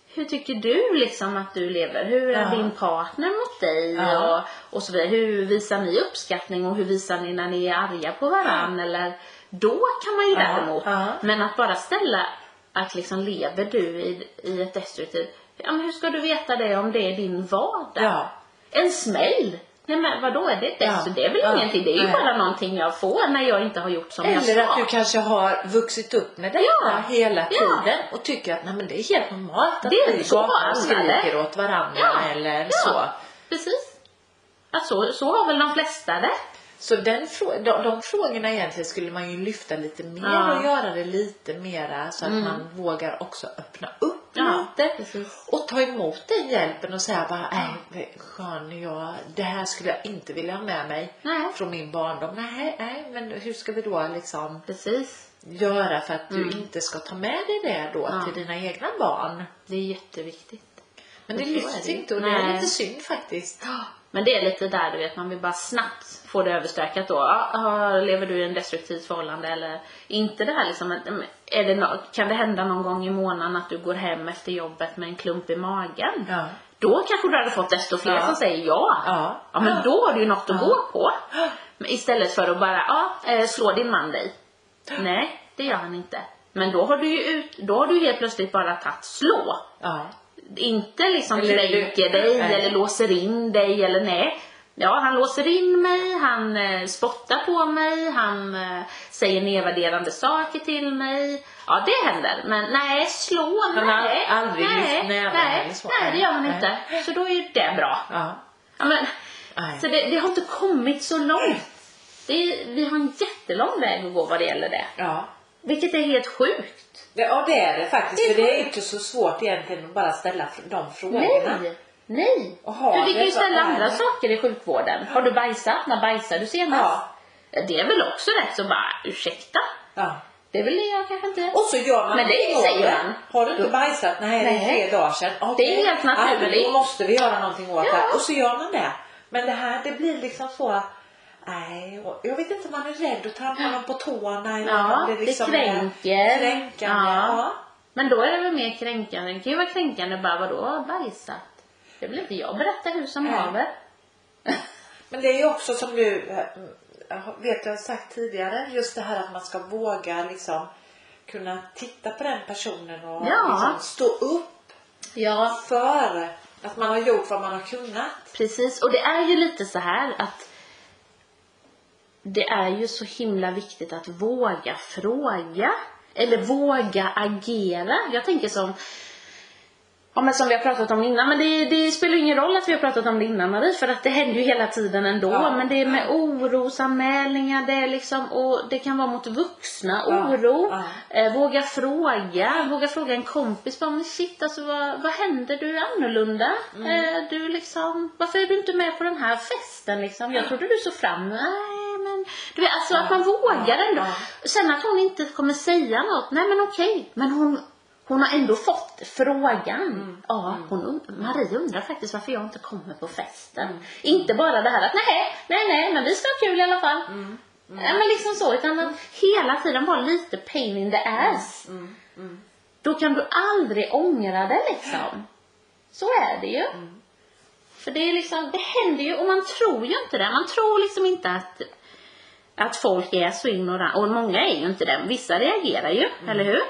Speaker 1: hur tycker du liksom att du lever? Hur är
Speaker 2: Ja.
Speaker 1: din partner mot dig?
Speaker 2: Ja.
Speaker 1: Och, och så vidare. Hur visar ni uppskattning och hur visar ni när ni är arga på varandra? Eller, då kan man ju
Speaker 2: Ja,
Speaker 1: däremot.
Speaker 2: ja.
Speaker 1: Men att bara ställa att liksom lever du i, i ett destruktivt, ja men hur ska du veta det om det är din vardag?
Speaker 2: Ja.
Speaker 1: En smäll! Nej men vadå, är det
Speaker 2: Ja,
Speaker 1: destruktivt? Det är väl
Speaker 2: ja,
Speaker 1: ingenting, det är ju
Speaker 2: nej.
Speaker 1: bara någonting jag får när jag inte har gjort som jag ska.
Speaker 2: Eller att du kanske har vuxit upp med detta
Speaker 1: Ja.
Speaker 2: hela
Speaker 1: Ja.
Speaker 2: tiden och tycker att nej, men det är helt normalt att
Speaker 1: Det är
Speaker 2: vi
Speaker 1: så
Speaker 2: gapar och
Speaker 1: alla
Speaker 2: skriker
Speaker 1: det.
Speaker 2: åt varandra
Speaker 1: Ja.
Speaker 2: eller
Speaker 1: Ja.
Speaker 2: så.
Speaker 1: Precis. Att så, så har väl de flesta det.
Speaker 2: Så den frå- de, de frågorna egentligen skulle man ju lyfta lite mer
Speaker 1: Ja. Mm.
Speaker 2: och göra det lite mera så att man vågar också öppna upp
Speaker 1: Ja,
Speaker 2: lite
Speaker 1: precis.
Speaker 2: och ta emot den hjälpen och säga bara "Äh, nej vad skön jag, det här skulle jag inte vilja ha med mig
Speaker 1: Nej.
Speaker 2: från min barndom. Nej, nej, men hur ska vi då liksom
Speaker 1: Precis.
Speaker 2: göra för att du inte ska ta med dig det då
Speaker 1: Mm. Ja.
Speaker 2: till dina egna barn?
Speaker 1: Det är jätteviktigt.
Speaker 2: Men det
Speaker 1: Så är
Speaker 2: lyfts
Speaker 1: det ju.
Speaker 2: inte och det är
Speaker 1: Nej.
Speaker 2: lite synd faktiskt.
Speaker 1: Men det är lite där du vet, man vill bara snabbt få det överstökat då. Ja, ja, lever du i en destruktivt förhållande eller inte det här liksom. att, mm, Är det nå- kan det hända någon gång i månaden att du går hem efter jobbet med en klump i magen?
Speaker 2: Ja.
Speaker 1: Då kanske du hade fått desto fler
Speaker 2: Ja.
Speaker 1: som säger ja.
Speaker 2: Ja.
Speaker 1: ja men då har du ju något att gå på. Men istället för att bara, ja, eh, slår din man dig? Nej, det gör han inte. Men då har du ju ut, då har du helt plötsligt bara tagit slå.
Speaker 2: Ja.
Speaker 1: Inte liksom
Speaker 2: Eller du-
Speaker 1: kränker dig
Speaker 2: Nej.
Speaker 1: eller låser in dig eller nej. Ja, han låser in mig, han eh, spottar på mig, han eh, säger nedvärderande saker till mig. Ja, det händer. Men nej, slå,
Speaker 2: Han har
Speaker 1: nej.
Speaker 2: aldrig lyft
Speaker 1: nej,
Speaker 2: näven eller
Speaker 1: nej,
Speaker 2: så.
Speaker 1: nej, det gör han
Speaker 2: Nej.
Speaker 1: inte. Så då är ju det bra.
Speaker 2: ja.
Speaker 1: Ja, men,
Speaker 2: Nej.
Speaker 1: så det, det har inte kommit så långt. Det är, vi har en jättelång väg att gå vad det gäller det.
Speaker 2: ja.
Speaker 1: Vilket är helt sjukt.
Speaker 2: Det, ja det är det faktiskt.
Speaker 1: Det är
Speaker 2: för det är inte så svårt egentligen att bara ställa fr- de frågorna.
Speaker 1: Nej! Nej!
Speaker 2: Och har
Speaker 1: Du fick
Speaker 2: det
Speaker 1: ju
Speaker 2: så
Speaker 1: ställa
Speaker 2: är
Speaker 1: andra
Speaker 2: det.
Speaker 1: saker i sjukvården. Har du bajsat? När bajsade du senast?
Speaker 2: Ja.
Speaker 1: Det är väl också rätt så bara, ursäkta?
Speaker 2: Ja.
Speaker 1: Det vill jag kanske inte.
Speaker 2: Och så gör man
Speaker 1: Men det
Speaker 2: något
Speaker 1: säger
Speaker 2: åt
Speaker 1: han.
Speaker 2: Har du inte
Speaker 1: Då-
Speaker 2: bajsat? Nej, det är
Speaker 1: Nej.
Speaker 2: tre dagar sedan.
Speaker 1: Det är
Speaker 2: Okej.
Speaker 1: helt
Speaker 2: Ja, men
Speaker 1: naturligt.
Speaker 2: då måste vi göra någonting åt
Speaker 1: Ja.
Speaker 2: det. Och så gör man det. Men det här det blir liksom så. Nej, och jag vet inte om man är rädd att trampa någon på tårna. Eller om
Speaker 1: Ja,
Speaker 2: man blir
Speaker 1: det
Speaker 2: liksom
Speaker 1: kränker.
Speaker 2: Kränkande.
Speaker 1: Ja.
Speaker 2: Ja.
Speaker 1: Men då är det väl mer kränkande. Det kan ju vara kränkande bara vadå bajsat? Det vill inte jag berätta hur som
Speaker 2: Nej.
Speaker 1: haver.
Speaker 2: Men det är ju också som du eh, vet jag har sagt tidigare. Just det här att man ska våga liksom kunna titta på den personen och
Speaker 1: Ja.
Speaker 2: liksom stå upp
Speaker 1: Ja,
Speaker 2: för att man har gjort vad man har kunnat.
Speaker 1: precis. Och det är ju lite så här att det är ju så himla viktigt att våga fråga. Eller våga agera. Jag tänker som Ja men som vi har pratat om innan, men det, det spelar ju ingen roll att vi har pratat om det innan Marie för att det händer ju hela tiden ändå.
Speaker 2: Ja.
Speaker 1: Men det är med orosanmälningar, det är liksom, och det kan vara mot vuxna,
Speaker 2: Ja.
Speaker 1: oro.
Speaker 2: Ja.
Speaker 1: Eh, våga fråga, våga fråga en kompis bara, men shit alltså vad, vad händer? Du är annorlunda.
Speaker 2: Mm.
Speaker 1: Eh, du liksom, varför är du inte med på den här festen liksom? Jag trodde du såg fram emot, nej men. Du vet, alltså att man vågar
Speaker 2: Ja.
Speaker 1: ändå.
Speaker 2: Ja.
Speaker 1: Sen att hon inte kommer säga något, nej men okej. Men hon, hon har ändå fått frågan. Ja, hon, und- Marie undrar faktiskt varför jag inte kommer på festen. Inte bara det här att nej, nej, nej, men vi ska ha kul i alla fall. Nej, men liksom så, utan att hela tiden vara lite pain in the ass. Då kan du aldrig ångra det liksom. Så är det ju. För det är liksom, det händer ju och man tror ju inte det. Man tror liksom inte att, att folk är så ignoranta. Och många är ju inte det. Vissa reagerar ju, eller hur?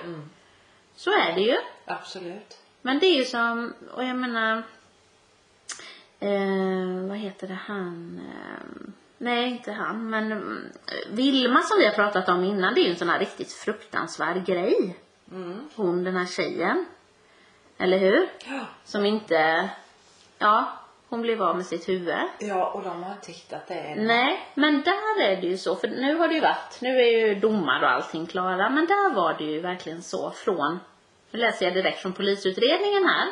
Speaker 1: Så är det ju.
Speaker 2: Absolut.
Speaker 1: Men det är ju som, och jag menar, eh, vad heter det han, eh, nej inte han, men mm, Vilma som vi har pratat om innan, det är ju en sån här riktigt fruktansvärd grej.
Speaker 2: Mm.
Speaker 1: Hon den här tjejen, eller hur?
Speaker 2: Ja.
Speaker 1: Som inte, ja, hon blev av med sitt huvud.
Speaker 2: ja, och de har inte hittat det än.
Speaker 1: Nej, men där är det ju så, för nu har det ju varit, nu är ju domar och allting klara, men där var det ju verkligen så från, nu läser jag direkt från polisutredningen här,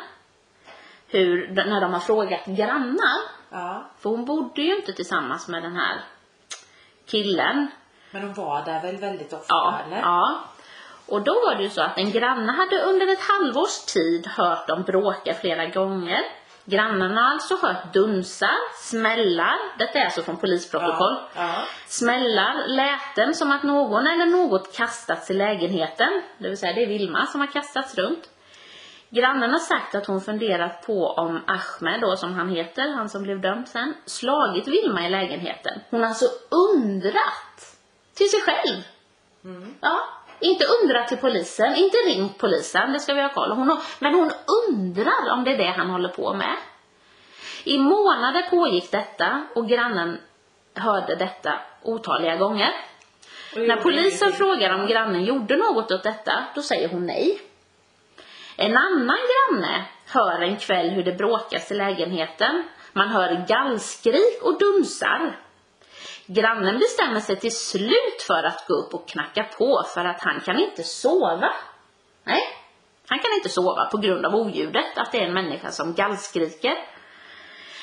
Speaker 1: hur, när de har frågat grannar,
Speaker 2: Ja,
Speaker 1: för hon bodde ju inte tillsammans med den här killen,
Speaker 2: men de var där väl väldigt ofta
Speaker 1: Ja,
Speaker 2: eller?
Speaker 1: ja. Och då var det ju så att en granne hade under ett halvårs tid hört dem bråka flera gånger. Grannarna har alltså hört dunsar, smällar, detta är alltså från polisprotokoll.
Speaker 2: Ja, ja.
Speaker 1: Smällar, läten som att någon eller något kastats i lägenheten. Det vill säga det är Vilma som har kastats runt. Grannen har sagt att hon funderat på om Ahmed då som han heter, han som blev dömd sen, slagit Vilma i lägenheten. Hon har alltså undrat till sig själv. Ja, inte undrat till polisen, inte ringt polisen, det ska vi ha koll. Hon har, men hon undrar om det är det han håller på med. I månader pågick detta och grannen hörde detta otaliga gånger.
Speaker 2: Och
Speaker 1: När
Speaker 2: gjorde
Speaker 1: polisen
Speaker 2: ingenting.
Speaker 1: frågar om grannen gjorde något åt detta, då säger hon nej. En annan granne hör en kväll hur det bråkas i lägenheten. Man hör gallskrik och dunsar. Grannen bestämmer sig till slut för att gå upp och knacka på för att han kan inte sova. Nej, han kan inte sova på grund av oljudet, att det är en människa som gallskriker.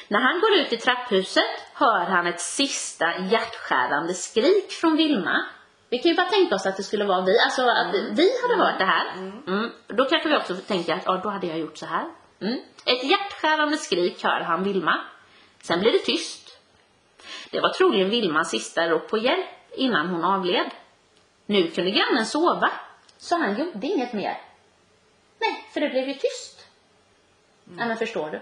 Speaker 1: När han går ut i trapphuset hör han ett sista hjärtskärande skrik från Vilma. Vi kan ju bara tänka oss att det skulle vara vi, alltså att vi hade hört det här. Mm. Då kanske vi också tänker att ja, då hade jag gjort så här. Mm. Ett hjärtskärande skrik hör han Vilma. Sen blir det tyst. Det var troligen Vilmas sista rop på hjälp innan hon avled. Nu kunde grannen sova, så han gjorde inget mer. Nej, för det blev ju tyst. Ja, men förstår du?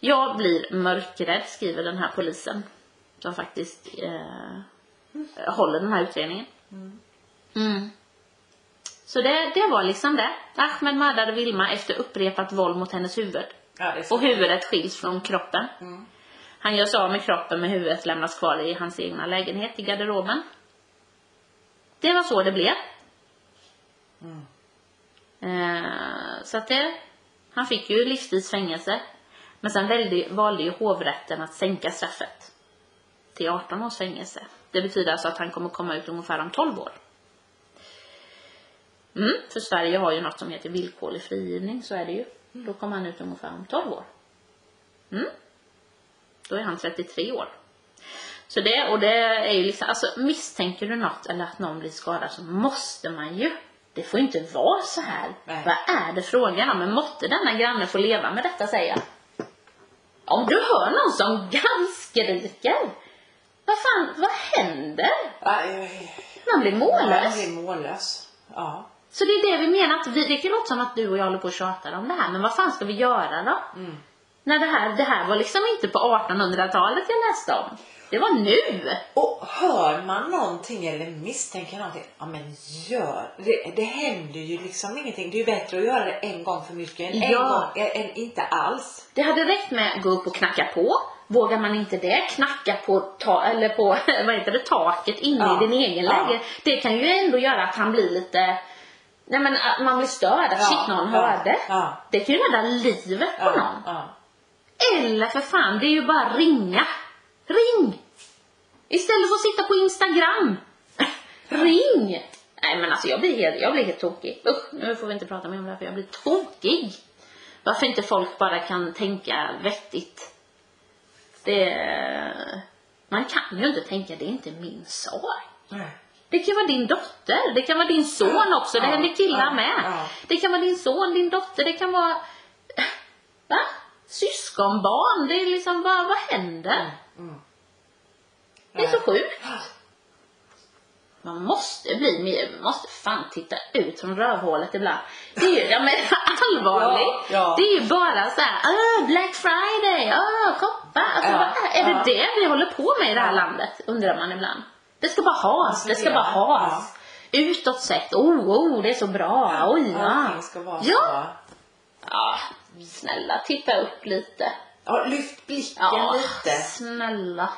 Speaker 1: Jag blir mörkrädd, skriver den här polisen. Som faktiskt eh, håller den här utredningen. Mm. Så det, det var liksom det. Ahmed mördade Vilma efter upprepat våld mot hennes huvud.
Speaker 2: Ja, det är så.
Speaker 1: Och huvudet skiljs från kroppen.
Speaker 2: Mm.
Speaker 1: Han görs av med kroppen men huvudet lämnas kvar i hans egna lägenhet i garderoben. Det var så det blev. Eh, så att det, han fick ju livstids fängelse. Men sen välde, valde ju hovrätten att sänka straffet till 18 års fängelse. Det betyder alltså att han kommer komma ut ungefär om 12 år. Mm, för Sverige har ju något som heter villkorlig frigivning, så är det ju. Då kommer han ut ungefär om 12 år. Mm. Då är han 33 år. Så det, och det är ju liksom, alltså misstänker du något eller att någon blir skadad så måste man ju. Det får ju inte vara så här.
Speaker 2: Nej.
Speaker 1: Vad är det frågan om? Men måtte denna granne få leva med detta säger jag. Om du hör någon som gallskriker, vad fan, vad händer?
Speaker 2: Aj, aj, aj.
Speaker 1: Man blir
Speaker 2: Man
Speaker 1: mållös.
Speaker 2: blir mållös. Ja.
Speaker 1: Så det är det vi menar, att vi, det kan låta som att du och jag håller på och tjatar om det här, men vad fan ska vi göra då?
Speaker 2: Mm.
Speaker 1: När det här, det här var liksom inte på 1800-talet jag läste om. Det var nu!
Speaker 2: Och hör man någonting eller misstänker någonting, ja men gör det. Det händer ju liksom ingenting. Det är ju bättre att göra det en gång för mycket än, en
Speaker 1: Ja.
Speaker 2: gång, än inte alls.
Speaker 1: Det hade räckt med att gå upp och knacka på. Vågar man inte det, knacka på, ta, eller på vad heter det, taket inne
Speaker 2: Ja.
Speaker 1: i din egen
Speaker 2: Ja.
Speaker 1: lägenhet. Det kan ju ändå göra att han blir lite... Nej men att man blir störd, att shit någon
Speaker 2: ja,
Speaker 1: hörde.
Speaker 2: Ja,
Speaker 1: Det kan ju rädda livet på någon.
Speaker 2: ja, ja.
Speaker 1: Eller för fan, det är ju bara ringa. Ring! Istället för att sitta på Instagram. Ring! Nej men alltså jag blir helt, jag blir helt tokig. Usch, nu får vi inte prata mer om det här för jag blir tokig. Varför inte folk bara kan tänka vettigt? Det... Man kan ju inte tänka, det är inte min sak.
Speaker 2: Nej.
Speaker 1: Det kan vara din dotter, det kan vara din son också, det
Speaker 2: Ja,
Speaker 1: händer killar
Speaker 2: ja,
Speaker 1: med.
Speaker 2: ja.
Speaker 1: Det kan vara din son, din dotter, det kan vara... Va? Syskonbarn, det är liksom, vad, vad händer?
Speaker 2: Mm.
Speaker 1: Det är så sjukt. Man måste bli mer, man måste fan titta ut från rövhålet ibland. Det är ju, ja men allvarligt.
Speaker 2: Ja, ja.
Speaker 1: Det är ju bara så här, "Åh, Black Friday, åh, shoppa. Alltså
Speaker 2: Ja,
Speaker 1: vad är, är
Speaker 2: ja.
Speaker 1: det det vi håller på med i det här
Speaker 2: Ja.
Speaker 1: landet? Undrar man ibland. Det ska bara has, det ska bara
Speaker 2: Ja.
Speaker 1: has. Utåt sett, oh, oh, det är så bra, oj, ja.
Speaker 2: Allting ska vara
Speaker 1: Ja.
Speaker 2: så.
Speaker 1: ja. Snälla, titta upp lite.
Speaker 2: Ja, lyft blicken
Speaker 1: Ja,
Speaker 2: lite.
Speaker 1: snälla.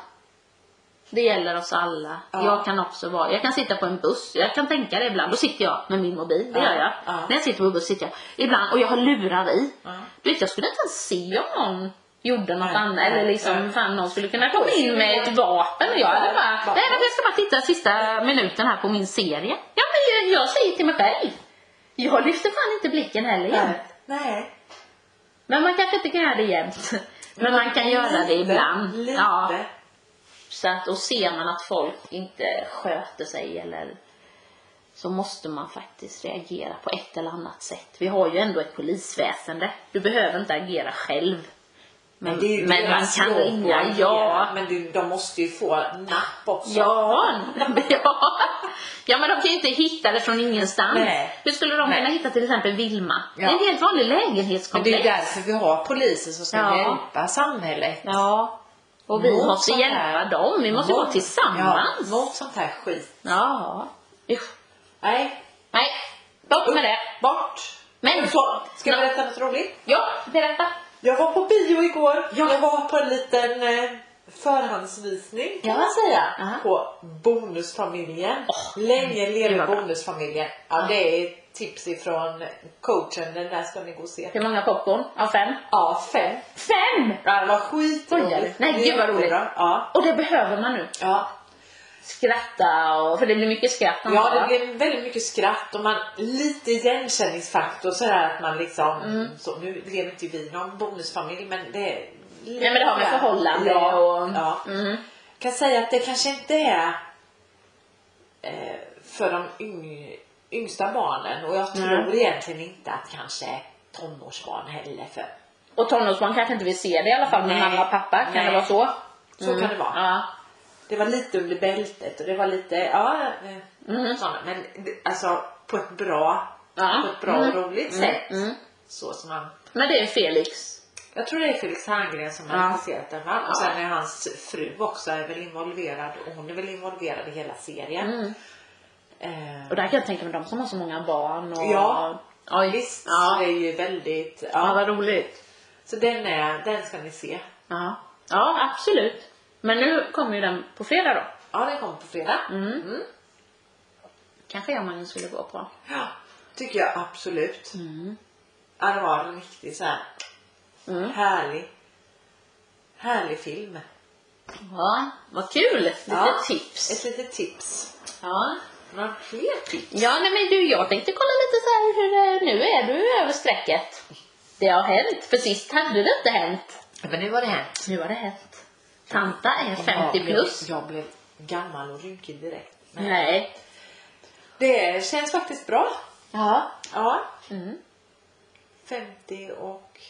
Speaker 1: Det gäller oss alla.
Speaker 2: Ja.
Speaker 1: Jag kan också vara, jag kan sitta på en buss, jag kan tänka det ibland, då sitter jag med min mobil, det
Speaker 2: Ja,
Speaker 1: gör jag.
Speaker 2: ja.
Speaker 1: När jag sitter på en buss sitter jag ibland, och jag har lurar i.
Speaker 2: Ja.
Speaker 1: Du vet, jag skulle inte ens se om någon gjorde något
Speaker 2: Nej,
Speaker 1: annat,
Speaker 2: nej,
Speaker 1: eller liksom,
Speaker 2: nej.
Speaker 1: fan någon skulle kunna komma in med ett vapen och jag hade bara,
Speaker 2: Ja.
Speaker 1: nej men jag ska bara titta sista minuten här på min serie. Ja men jag, jag säger till mig själv, jag lyfter fan inte blicken heller jämt.
Speaker 2: Nej. Nej.
Speaker 1: Men man kanske inte kan göra det jämt. Men man kan göra det ibland.
Speaker 2: Lite.
Speaker 1: Ja. Så att, och ser man att folk inte sköter sig eller så måste man faktiskt reagera på ett eller annat sätt. Vi har ju ändå ett polisväsende. Du behöver inte agera själv. Men,
Speaker 2: det är ju
Speaker 1: men, man
Speaker 2: deras
Speaker 1: kan
Speaker 2: språk att
Speaker 1: ringa,
Speaker 2: agera,
Speaker 1: ja.
Speaker 2: Men du, de måste ju få napp också.
Speaker 1: Ja, ja. ja, men de kan ju inte hitta det från ingenstans.
Speaker 2: Nej.
Speaker 1: Hur skulle de
Speaker 2: Nej.
Speaker 1: kunna hitta till exempel Vilma? Det
Speaker 2: Ja.
Speaker 1: är en helt vanlig
Speaker 2: Men det är ju
Speaker 1: lägenhetskomplex.
Speaker 2: därför vi har poliser som ska
Speaker 1: Ja.
Speaker 2: hjälpa samhället.
Speaker 1: Ja. Och vi
Speaker 2: Mot
Speaker 1: måste
Speaker 2: sånt här.
Speaker 1: hjälpa dem. Vi måste vara tillsammans.
Speaker 2: Ja, mot sånt här skit.
Speaker 1: Ja. Usch.
Speaker 2: Nej,
Speaker 1: Nej, bort med det.
Speaker 2: bort!
Speaker 1: Men-
Speaker 2: så, ska jag
Speaker 1: Ja.
Speaker 2: berätta något roligt?
Speaker 1: Ja, berätta.
Speaker 2: Jag var på bio igår.
Speaker 1: Ja.
Speaker 2: Jag var på en liten eh, förhandsvisning kan
Speaker 1: Ja.
Speaker 2: man säga.
Speaker 1: Aha.
Speaker 2: På Bonusfamiljen.
Speaker 1: Åh,
Speaker 2: Länge
Speaker 1: det
Speaker 2: lever
Speaker 1: var bra.
Speaker 2: Bonusfamiljen. Ja,
Speaker 1: Ja.
Speaker 2: Det är tips ifrån coachen. Den där ska ni gå och se.
Speaker 1: Hur många popcorn? Av fem?
Speaker 2: Ja, fem.
Speaker 1: Fem!
Speaker 2: Ja, det var
Speaker 1: Skojar du?
Speaker 2: skitroligt.
Speaker 1: Nej,
Speaker 2: Det är
Speaker 1: gud vad roligt.
Speaker 2: jättebra. Ja.
Speaker 1: Och det behöver man nu.
Speaker 2: Ja,
Speaker 1: Skratta och... För det blir mycket skratt.
Speaker 2: Ja,
Speaker 1: antar
Speaker 2: det
Speaker 1: jag.
Speaker 2: blev väldigt mycket skratt och man, lite igenkänningsfaktor sådär att man liksom,
Speaker 1: Mm.
Speaker 2: så, nu lever inte vi någon bonusfamilj men det är
Speaker 1: Nej men det har med förhållande
Speaker 2: ja,
Speaker 1: och...
Speaker 2: Ja.
Speaker 1: Mm.
Speaker 2: kan säga att det kanske inte är eh, för de yng, yngsta barnen och jag
Speaker 1: Nej.
Speaker 2: tror egentligen inte att kanske tonårsbarn heller för
Speaker 1: Och tonårsbarn kanske inte vill se det i alla fall med
Speaker 2: Nej.
Speaker 1: mamma och pappa. Kan
Speaker 2: Nej.
Speaker 1: det vara så?
Speaker 2: så kan det vara.
Speaker 1: Mm. Ja.
Speaker 2: Det var lite under bältet och det var lite, ja, eh,
Speaker 1: Mm.
Speaker 2: sådana. men det- alltså på ett bra,
Speaker 1: Ja.
Speaker 2: på ett bra och
Speaker 1: Mm.
Speaker 2: roligt
Speaker 1: Mm.
Speaker 2: sätt.
Speaker 1: Mm.
Speaker 2: Så som han
Speaker 1: Men det är Felix.
Speaker 2: Jag tror det är Felix Herngren som har
Speaker 1: Ja.
Speaker 2: regisserat den va?
Speaker 1: Ja.
Speaker 2: Och sen är hans fru också är väl involverad och hon är väl involverad i hela serien.
Speaker 1: Mm.
Speaker 2: Eh,
Speaker 1: Och där kan jag tänka mig de som har så många barn och...
Speaker 2: Ja.
Speaker 1: Oj.
Speaker 2: visst, så
Speaker 1: Ja.
Speaker 2: det är ju väldigt...
Speaker 1: ja,
Speaker 2: Ja.
Speaker 1: vad roligt.
Speaker 2: Så den, är, den ska ni se.
Speaker 1: Ja, ja absolut. Men nu kommer ju den på fredag då.
Speaker 2: Ja, den kommer på fredag.
Speaker 1: Mm.
Speaker 2: Mm.
Speaker 1: Kanske jag man skulle gå på.
Speaker 2: Ja, tycker jag absolut.
Speaker 1: Mm.
Speaker 2: Ja, det var en riktigt så här
Speaker 1: Mm.
Speaker 2: härlig, härlig film.
Speaker 1: Ja, vad kul! Lite
Speaker 2: Ja. Ett
Speaker 1: tips.
Speaker 2: litet tips.
Speaker 1: Ja.
Speaker 2: Några fler tips?
Speaker 1: ja, nej men du jag tänkte kolla lite så här hur det, nu är du över strecket. Det har hänt, för sist hade det inte hänt.
Speaker 2: Men nu har det hänt.
Speaker 1: Nu har det hänt. Tanta är 50
Speaker 2: jag
Speaker 1: plus.
Speaker 2: Blev, jag blev gammal och rynkig direkt. Men
Speaker 1: Nej.
Speaker 2: Det känns faktiskt bra.
Speaker 1: Ja.
Speaker 2: Ja.
Speaker 1: Mm.
Speaker 2: 50 och...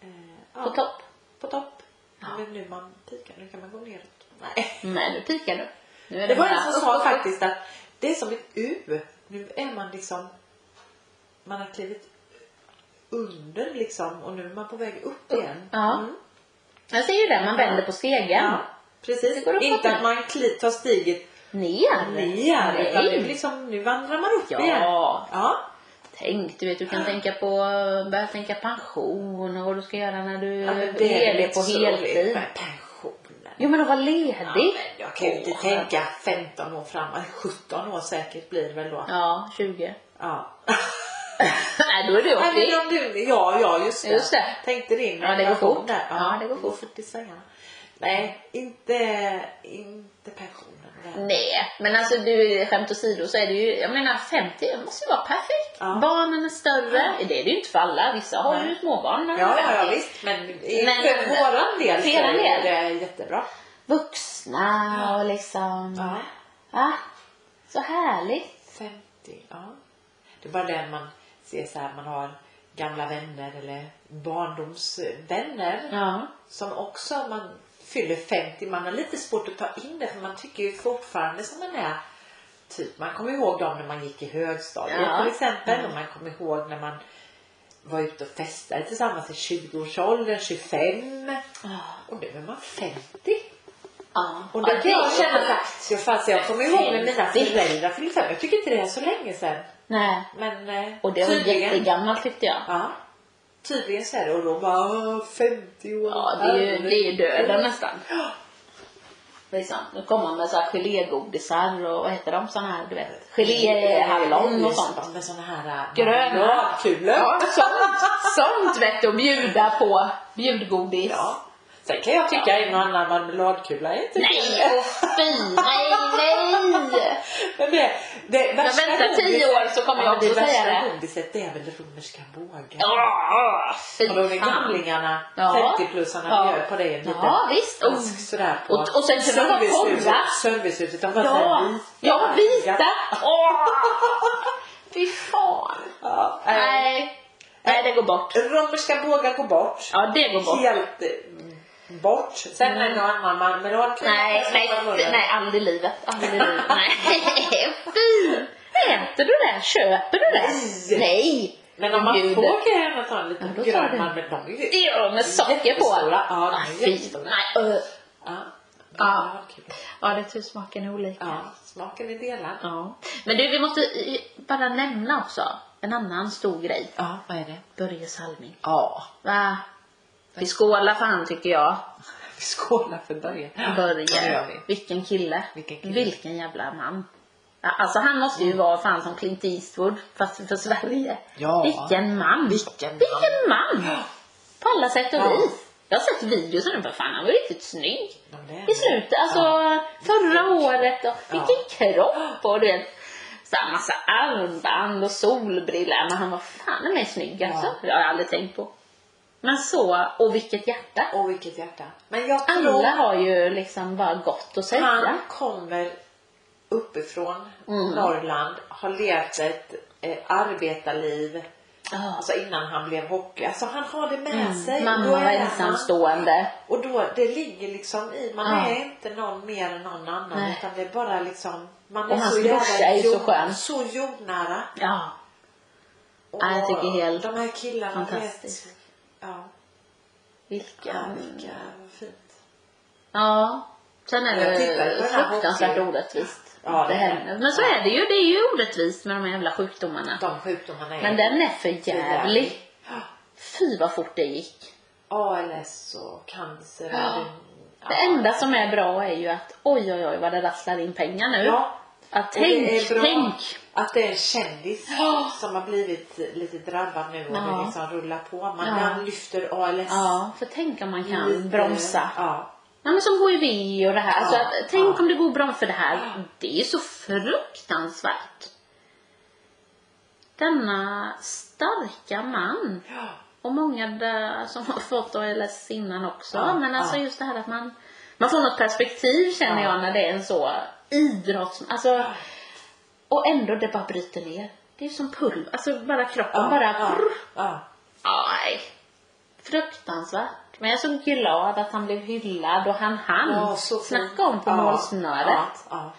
Speaker 2: Eh, ja,
Speaker 1: På topp.
Speaker 2: På topp.
Speaker 1: Ja.
Speaker 2: Det är nu man pikar. Nu kan man gå neråt. Nej.
Speaker 1: Nej, nu pikar du. Nu är
Speaker 2: Det var
Speaker 1: bara
Speaker 2: en som
Speaker 1: upp,
Speaker 2: sa
Speaker 1: upp, upp.
Speaker 2: faktiskt att det är som ett U. Nu är man liksom... Man har klivit under liksom och nu är man på väg upp igen.
Speaker 1: Ja.
Speaker 2: Mm.
Speaker 1: Jag ser ju det, man vänder på stegen.
Speaker 2: Ja,
Speaker 1: Det
Speaker 2: precis.
Speaker 1: går uppåt
Speaker 2: Inte
Speaker 1: nu.
Speaker 2: att man kli- tar stiget
Speaker 1: Ner.
Speaker 2: ner. Utan nu,
Speaker 1: Nej.
Speaker 2: liksom, nu vandrar man upp
Speaker 1: Ja.
Speaker 2: igen. Ja.
Speaker 1: Tänk, du vet, du kan tänka på, börja tänka pension och vad du ska göra när du
Speaker 2: Ja, men
Speaker 1: är
Speaker 2: det är
Speaker 1: ledig
Speaker 2: inte
Speaker 1: på
Speaker 2: så roligt
Speaker 1: heltid.
Speaker 2: med pensionen.
Speaker 1: Jo, men att vara
Speaker 2: Ja,
Speaker 1: ledig.
Speaker 2: men jag kan ju inte
Speaker 1: Åh.
Speaker 2: tänka 15 år framåt. 17 år säkert blir det väl då.
Speaker 1: Ja, 20.
Speaker 2: Ja.
Speaker 1: Nej, då är du 80.
Speaker 2: Nej, men om du, ja, ja just det.
Speaker 1: Just det.
Speaker 2: Tänkte din
Speaker 1: Ja, det går
Speaker 2: relation
Speaker 1: fort.
Speaker 2: Där.
Speaker 1: Ja, det går fort.
Speaker 2: i svängarna. Nej, inte, inte pensionen. Nej.
Speaker 1: Nej, men alltså du, skämt åsido så är det ju, jag menar 50 det måste ju vara perfekt.
Speaker 2: Ja.
Speaker 1: Barnen är större, det är det ju inte för alla, vissa har
Speaker 2: Nej.
Speaker 1: ju småbarn när de
Speaker 2: Ja,
Speaker 1: är
Speaker 2: ja,
Speaker 1: 50.
Speaker 2: ja visst. Men i-
Speaker 1: Men-
Speaker 2: för våran del så
Speaker 1: För er
Speaker 2: är
Speaker 1: del.
Speaker 2: det jättebra.
Speaker 1: Vuxna och liksom,
Speaker 2: Ja.
Speaker 1: va? Så härligt.
Speaker 2: 50, ja. Det är bara den man ser så här, man har gamla vänner eller barndomsvänner
Speaker 1: Ja.
Speaker 2: som också, man fyller 50, man har lite svårt att ta in det för man tycker ju fortfarande som man är typ, man kommer ihåg dem när man gick i högstadiet
Speaker 1: Ja. Mm.
Speaker 2: till exempel och man kommer ihåg när man var ute och festade tillsammans i 20-årsåldern, 25 och nu är man 50.
Speaker 1: Ja.
Speaker 2: Och det kan jag känna så här, jag, fan, så jag kommer ihåg när mina
Speaker 1: 50.
Speaker 2: föräldrar fyllde 50, jag tycker inte det är så länge sedan.
Speaker 1: Nej.
Speaker 2: Men eh,
Speaker 1: Och det var
Speaker 2: tydligen.
Speaker 1: jättegammalt tyckte jag.
Speaker 2: Ja. Tydligen så är det. Och då bara "Åh, 50 år.
Speaker 1: Ja, det är ju, det är ju döden
Speaker 2: Herregud.
Speaker 1: nästan. Liksom, nu kommer man med så här gelégodisar och vad heter de såna här, du vet,
Speaker 2: Mm,
Speaker 1: geléhallon och sånt.
Speaker 2: Med såna här äh,
Speaker 1: Gröna.
Speaker 2: grankulor.
Speaker 1: Ja, sånt, sånt vet du, att bjuda på bjudgodis.
Speaker 2: Ja. Sen kan jag tycka en och annan marmeladkula är inte
Speaker 1: Nej,
Speaker 2: fel.
Speaker 1: åh fy, nej, nej!
Speaker 2: Men det, det
Speaker 1: Jag
Speaker 2: värsta
Speaker 1: väntar tio
Speaker 2: godiset-
Speaker 1: år så kommer
Speaker 2: Ja,
Speaker 1: jag också
Speaker 2: det.
Speaker 1: säga
Speaker 2: värsta
Speaker 1: det.
Speaker 2: godiset det är väl romerska bågen.
Speaker 1: Åh,
Speaker 2: Och de
Speaker 1: fy
Speaker 2: är
Speaker 1: fan.
Speaker 2: gamlingarna,
Speaker 1: Ja.
Speaker 2: 50-plussarna,
Speaker 1: Ja.
Speaker 2: bjöd på det en liten
Speaker 1: Ja, visst. Oh, Och,
Speaker 2: ask sådär på
Speaker 1: och, och sen kunde de vara
Speaker 2: servicehuset.
Speaker 1: korra.
Speaker 2: Servicehuset, de var
Speaker 1: Ja,
Speaker 2: såhär
Speaker 1: ja, vita. Åh, fy fan.
Speaker 2: Ja, nej.
Speaker 1: Nej. Nej, det går bort.
Speaker 2: Romerska bågar går bort.
Speaker 1: Ja, det går bort.
Speaker 2: Helt eh, bort. Mm. Sen är det någon annan marmeladkula.
Speaker 1: Nej,
Speaker 2: som
Speaker 1: nej,
Speaker 2: man
Speaker 1: f-
Speaker 2: håller.
Speaker 1: nej, aldrig i livet. Aldrig i livet. Nej, fy! Äter du det? Köper du det?
Speaker 2: Nej.
Speaker 1: Nej!
Speaker 2: Men om man
Speaker 1: Gud.
Speaker 2: får grejerna ta en liten
Speaker 1: Ja, då tar
Speaker 2: grön
Speaker 1: du.
Speaker 2: marmelad. De är
Speaker 1: Det
Speaker 2: ju
Speaker 1: är med socker på.
Speaker 2: jättestora. Ja,
Speaker 1: Ah,
Speaker 2: de är
Speaker 1: fy.
Speaker 2: jättestora.
Speaker 1: Nej, ö.
Speaker 2: Ja,
Speaker 1: Ja.
Speaker 2: marmeladkula.
Speaker 1: Ja, det är tur smaken är olika.
Speaker 2: Ja, smaken är delad.
Speaker 1: Ja. Men du, vi måste i- bara nämna också en annan stor grej.
Speaker 2: Ja, vad är det?
Speaker 1: Börje Salming.
Speaker 2: Ja.
Speaker 1: Va? Vi skålar för han tycker jag.
Speaker 2: Vi skålar för Börje. Ja, det
Speaker 1: Börje.
Speaker 2: gör vi.
Speaker 1: Vilken kille.
Speaker 2: Vilken kille. Mm.
Speaker 1: Vilken jävla man. Ja, Alltså han måste ju vara fan som Clint Eastwood fast för Sverige.
Speaker 2: Ja.
Speaker 1: Vilken man.
Speaker 2: Vilken man.
Speaker 1: Vilken man. På alla sätt och
Speaker 2: Ja.
Speaker 1: vis. Jag har sett videos och den för fan han var ju riktigt snygg.
Speaker 2: Ja, det är det.
Speaker 1: I slutet, alltså förra året och vilken kropp och du vet. Så här massa armband och solbrillor. Men han var fan i mig snygg alltså.
Speaker 2: Ja.
Speaker 1: Det har jag aldrig tänkt på. Men så, och vilket hjärta.
Speaker 2: Och vilket hjärta. Men jag tror
Speaker 1: Alla har ju liksom bara gott att säga.
Speaker 2: han kommer uppifrån
Speaker 1: Mm.
Speaker 2: Norrland, har levt ett eh, arbetarliv
Speaker 1: Ja.
Speaker 2: alltså innan han blev hockey. Alltså han har det med sig.
Speaker 1: Ah. Mm.
Speaker 2: Då
Speaker 1: Mamma var
Speaker 2: är han-
Speaker 1: ensamstående.
Speaker 2: Och då, det ligger liksom i, man
Speaker 1: Ja.
Speaker 2: är inte någon mer än någon annan
Speaker 1: Nej.
Speaker 2: utan det är bara liksom, man
Speaker 1: Och hans brorsa är ju så skön.
Speaker 2: så jordnära.
Speaker 1: Ja.
Speaker 2: Och
Speaker 1: Ja, jag tycker helt
Speaker 2: De här killarna, du vet.
Speaker 1: fantastiskt.
Speaker 2: Ja, ja,
Speaker 1: Vilken...
Speaker 2: vilka, vad fint.
Speaker 1: Ja. Sen är
Speaker 2: Jag tittar på
Speaker 1: det
Speaker 2: den här
Speaker 1: fruktansvärt
Speaker 2: hockeyn.
Speaker 1: orättvist.
Speaker 2: Ja, det
Speaker 1: det
Speaker 2: är det.
Speaker 1: händer. Men så är det ju. Det är ju orättvist med de här jävla sjukdomarna.
Speaker 2: De sjukdomarna är
Speaker 1: Men den är för jävlig.
Speaker 2: Ja.
Speaker 1: Fy vad fort det gick.
Speaker 2: ALS och cancer.
Speaker 1: Ja.
Speaker 2: och
Speaker 1: Det
Speaker 2: det-
Speaker 1: enda som är bra är ju att oj, oj, oj vad det rasslar in pengar nu.
Speaker 2: Ja.
Speaker 1: Att
Speaker 2: Och det
Speaker 1: tänk,
Speaker 2: är bra
Speaker 1: tänk.
Speaker 2: Att det är en kändis
Speaker 1: Ja.
Speaker 2: som har blivit lite drabbad nu och
Speaker 1: Ja.
Speaker 2: det liksom rullar på. Man
Speaker 1: Ja.
Speaker 2: man lyfter ALS.
Speaker 1: Ja, för tänk om man kan
Speaker 2: lite-
Speaker 1: bromsa.
Speaker 2: Ja.
Speaker 1: Ja men som HIV och det här.
Speaker 2: Ja,
Speaker 1: så att, tänk
Speaker 2: ja.
Speaker 1: om det går bra för det här. Det är ju så fruktansvärt. Denna starka man.
Speaker 2: Ja.
Speaker 1: Och många där som har fått ALS innan också.
Speaker 2: Ja,
Speaker 1: men alltså
Speaker 2: ja.
Speaker 1: just det här att man Man får något perspektiv känner
Speaker 2: Ja.
Speaker 1: jag när det är en så idrotts... Alltså, och ändå det bara bryter ner. Det är som pulver, alltså bara kroppen bara...
Speaker 2: ja, ja.
Speaker 1: Aj. Fruktansvärt. Men jag är så glad att han blev hyllad och han hann.
Speaker 2: Ja, så fint.
Speaker 1: Snacka om på
Speaker 2: Ja,
Speaker 1: målsnöret.
Speaker 2: Ja, ja.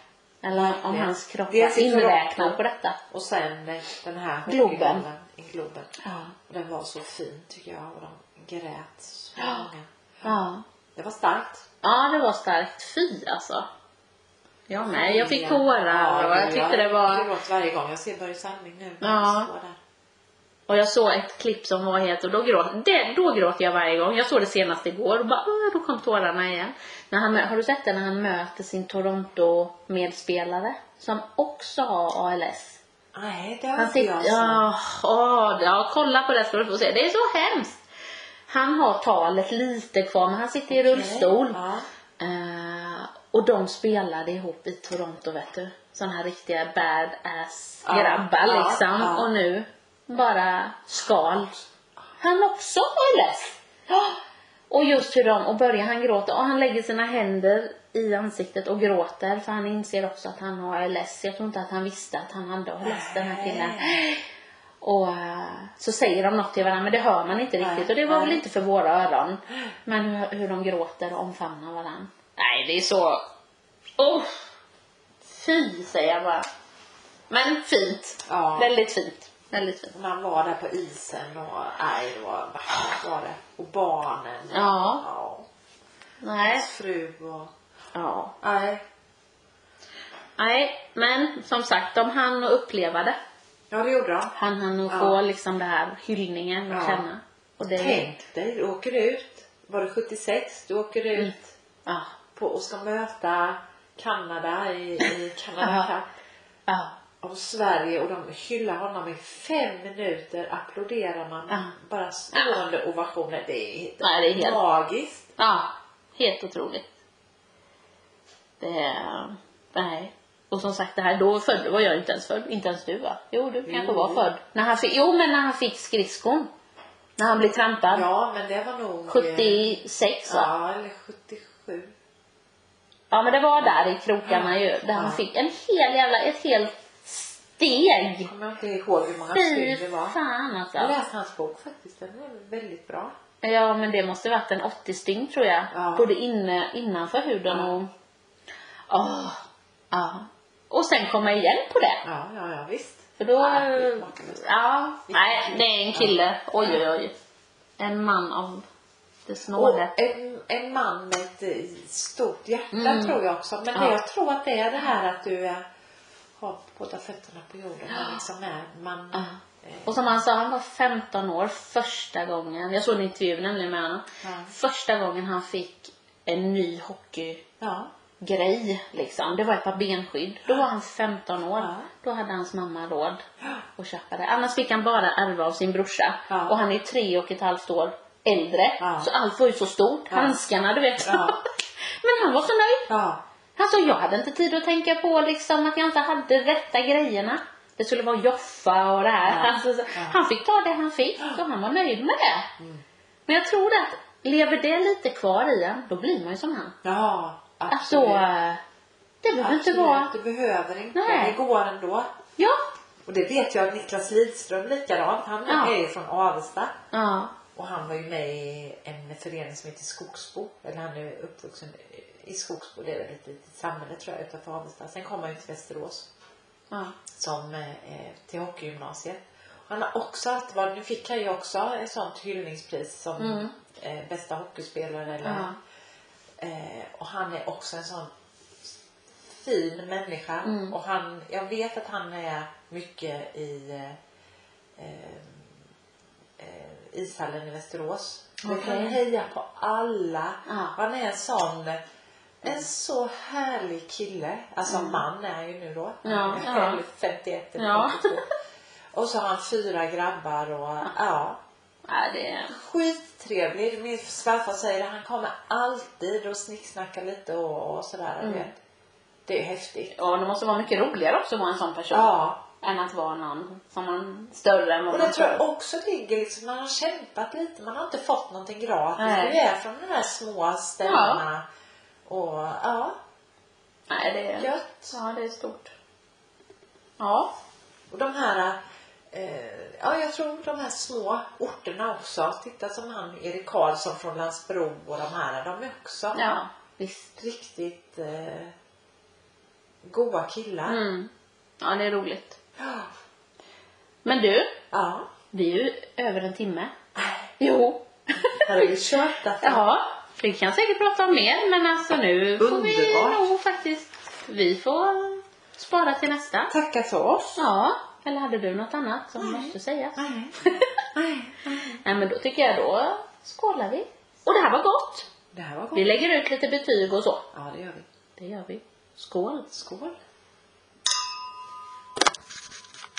Speaker 1: Eller om
Speaker 2: Ja.
Speaker 1: hans kropp
Speaker 2: Det är
Speaker 1: var
Speaker 2: sitt
Speaker 1: inräknad
Speaker 2: Toronto.
Speaker 1: på detta.
Speaker 2: Och sen eh, den här
Speaker 1: Globen.
Speaker 2: hockeygallen i Globen.
Speaker 1: Ja.
Speaker 2: Den var så fin tycker jag och de grät så
Speaker 1: Ja.
Speaker 2: många.
Speaker 1: Ja.
Speaker 2: Det var starkt.
Speaker 1: Ja, det var starkt. Fy alltså. Jag med. Jag fick
Speaker 2: Ja.
Speaker 1: tårar och
Speaker 2: Ja,
Speaker 1: jag tyckte det var...
Speaker 2: Jag gråter varje gång jag ser Börje Salming nu. när
Speaker 1: Ja.
Speaker 2: han står där.
Speaker 1: Och jag såg ett klipp som var helt, och då gråt, det, då gråter jag varje gång. Jag såg det senast igår och bara, "Åh, då kom tårarna igen. När han, mö- har du sett det när han möter sin Toronto-medspelare som också har ALS?
Speaker 2: Nej, det har
Speaker 1: Han
Speaker 2: inte
Speaker 1: sitter,
Speaker 2: jag sett.
Speaker 1: ja, åh, ja, kolla på det så du får se. Det är så hemskt. Han har talet lite kvar men han sitter i rullstol.
Speaker 2: Ja.
Speaker 1: Eh, och de spelade ihop i Toronto vet du. Sådana här riktiga badass
Speaker 2: Ja,
Speaker 1: grabbar
Speaker 2: ja,
Speaker 1: liksom.
Speaker 2: ja.
Speaker 1: Och nu bara skal. Han också var less. Och just hur de, och börjar han gråta och han lägger sina händer i ansiktet och gråter för han inser också att han har ALS. Jag tror inte att han visste att han hade ALS den här killen. Och eh, så säger de något till varandra men det hör man inte
Speaker 2: Nej,
Speaker 1: riktigt och det var
Speaker 2: nej.
Speaker 1: väl inte för våra öron. Men hur, hur de gråter och omfamnar varandra. Nej det är så... Oh, fy säger jag bara. Men fint.
Speaker 2: Ja.
Speaker 1: Väldigt fint. Väldigt fint.
Speaker 2: Man var där på isen och nej, det var vackert var det. Och barnen.
Speaker 1: Ja.
Speaker 2: ja.
Speaker 1: Nej.
Speaker 2: Hans fru och...
Speaker 1: Ja.
Speaker 2: Nej.
Speaker 1: Nej men som sagt de hann att uppleva det.
Speaker 2: Ja, det gjorde de.
Speaker 1: Han hann att
Speaker 2: Ja.
Speaker 1: få liksom det här hyllningen och
Speaker 2: Ja.
Speaker 1: känna. Och det...
Speaker 2: Tänk dig, du åker ut. Var det 76? Du åker ut
Speaker 1: Mm. Ja.
Speaker 2: på, och ska möta Kanada i, i Kanada
Speaker 1: Ja.
Speaker 2: Cup.
Speaker 1: Ja.
Speaker 2: Om Sverige och de hyllar honom i fem minuter. Applåderar man.
Speaker 1: Ja.
Speaker 2: Bara stående ovationer. Det är,
Speaker 1: Nej, det är helt-
Speaker 2: magiskt.
Speaker 1: Ja, helt otroligt. Det, nej. Och som sagt, det här, då född, var jag inte ens född. Inte ens du va? Jo, du kanske
Speaker 2: Jo.
Speaker 1: var född. När han fick, jo, men när han fick skridskon. När han blev trampad.
Speaker 2: Ja, men det var nog... eh,
Speaker 1: 76 va?
Speaker 2: Ja, eller 77.
Speaker 1: Ja, men det var där i krokarna ju. Där han
Speaker 2: Ja.
Speaker 1: fick en hel jävla, ett helt steg.
Speaker 2: Kommer jag inte ihåg hur många
Speaker 1: Fy
Speaker 2: steg det var.
Speaker 1: fan alltså.
Speaker 2: Jag läste hans bok faktiskt. Den var väldigt bra.
Speaker 1: Ja, men det måste varit en 80 stygn tror jag.
Speaker 2: Ja.
Speaker 1: Både inne, innanför huden
Speaker 2: Ja.
Speaker 1: och... Åh, ja. Och sen komma igen på det.
Speaker 2: Ja, ja, ja visst.
Speaker 1: För då...
Speaker 2: Ja, det är makalöst.
Speaker 1: Ja. Nej, det är en kille. Oj, oj, oj. En man av det
Speaker 2: Och
Speaker 1: snåde.
Speaker 2: en, en man med ett eh, stort hjärta
Speaker 1: Mm.
Speaker 2: tror jag också. Men
Speaker 1: Ja.
Speaker 2: det, jag tror att det är det här att du eh, har båda fötterna på jorden. och Liksom är man,
Speaker 1: Ja.
Speaker 2: eh,
Speaker 1: Och som han sa, han var 15 år första gången. Jag såg en intervju nämligen med honom.
Speaker 2: Ja.
Speaker 1: Första gången han fick en ny hockeygrej
Speaker 2: ja.
Speaker 1: liksom. Det var ett par benskydd. Då var han 15 år.
Speaker 2: Ja.
Speaker 1: Då hade hans mamma råd att köpa det. Annars fick han bara ärva av sin brorsa.
Speaker 2: Ja.
Speaker 1: Och han är tre och ett halvt år äldre.
Speaker 2: Ja.
Speaker 1: Så allt var ju så stort.
Speaker 2: Ja.
Speaker 1: Handskarna, du vet.
Speaker 2: Ja.
Speaker 1: Men han var så nöjd.
Speaker 2: ja.
Speaker 1: Alltså jag hade inte tid att tänka på liksom att jag inte hade rätta grejerna. Det skulle vara Joffa och det här.
Speaker 2: Ja. Mm.
Speaker 1: Alltså, så, Han fick ta det han fick och han var nöjd med det. Men jag tror att lever det lite kvar i en, då blir man ju som han.
Speaker 2: Ja,
Speaker 1: Alltså,
Speaker 2: absolut.
Speaker 1: eh, det behöver inte
Speaker 2: absolut.
Speaker 1: vara...
Speaker 2: Du behöver inte.
Speaker 1: Nej.
Speaker 2: Det går ändå.
Speaker 1: Ja.
Speaker 2: Och det vet jag Niklas Lidström likadant. Han
Speaker 1: Ja.
Speaker 2: är ju från Avesta.
Speaker 1: Ja.
Speaker 2: Och han var ju med i en förening som heter Skogsbo. Eller han är uppvuxen i Skogsbo. Det är väl ett litet samhälle tror jag utanför Avesta. Sen kom han ju till Västerås
Speaker 1: Ja.
Speaker 2: som, eh, till hockeygymnasiet. Han har också alltid varit, nu fick han ju också ett sånt hyllningspris som
Speaker 1: Mm.
Speaker 2: eh, bästa hockeyspelare. Eller,
Speaker 1: Ja.
Speaker 2: eh, och han är också en sån fin människa.
Speaker 1: Mm.
Speaker 2: Och han, jag vet att han är mycket i eh, eh, ishallen i Västerås. Okay. Han
Speaker 1: Okej.
Speaker 2: hejar på alla.
Speaker 1: Ja. Mm.
Speaker 2: Och Han är en sån en så härlig kille. Alltså man är han ju nu då.
Speaker 1: Ja,
Speaker 2: Han är
Speaker 1: ja.
Speaker 2: själv 51 eller
Speaker 1: Ja.
Speaker 2: 52. Och så har han fyra grabbar och ja.
Speaker 1: Ja, det...
Speaker 2: Skittrevlig. Min svärfar säger att han kommer alltid och snicksnackar lite och, och sådär.
Speaker 1: Mm.
Speaker 2: Mm. Vet. Det är häftigt.
Speaker 1: Ja, det måste vara mycket roligare också att vara en sån person.
Speaker 2: Ja.
Speaker 1: Än att vara någon som man större än vad
Speaker 2: Och
Speaker 1: man
Speaker 2: det tror jag också ligger liksom, man har kämpat lite, man har inte fått någonting gratis.
Speaker 1: Nej.
Speaker 2: Vi är från de här små ställena. Och ja,
Speaker 1: Nej, det är
Speaker 2: Gött.
Speaker 1: Ja, det är stort. Ja.
Speaker 2: och de här, eh, ja jag tror de här små orterna också. Titta som han Erik Karlsson från Landsbro och de här, de är också
Speaker 1: Ja, visst.
Speaker 2: riktigt eh, goa killar.
Speaker 1: Mm. Ja, det är roligt.
Speaker 2: Ja.
Speaker 1: Men du,
Speaker 2: Ja.
Speaker 1: vi är ju över en timme. Jo.
Speaker 2: Här har vi kört alltså.
Speaker 1: Ja, vi kan säkert prata om mer, men alltså nu får
Speaker 2: Underbart.
Speaker 1: vi nog faktiskt, vi får spara till nästa.
Speaker 2: Tacka för oss.
Speaker 1: Ja, eller hade du något annat som måste sägas?
Speaker 2: Nej.
Speaker 1: Nej, men då tycker jag då skålar vi. Och det här var gott.
Speaker 2: Det här var
Speaker 1: Vi
Speaker 2: gott.
Speaker 1: lägger ut lite betyg och så.
Speaker 2: Ja, det gör vi.
Speaker 1: Det gör vi. Skål.
Speaker 2: Skål.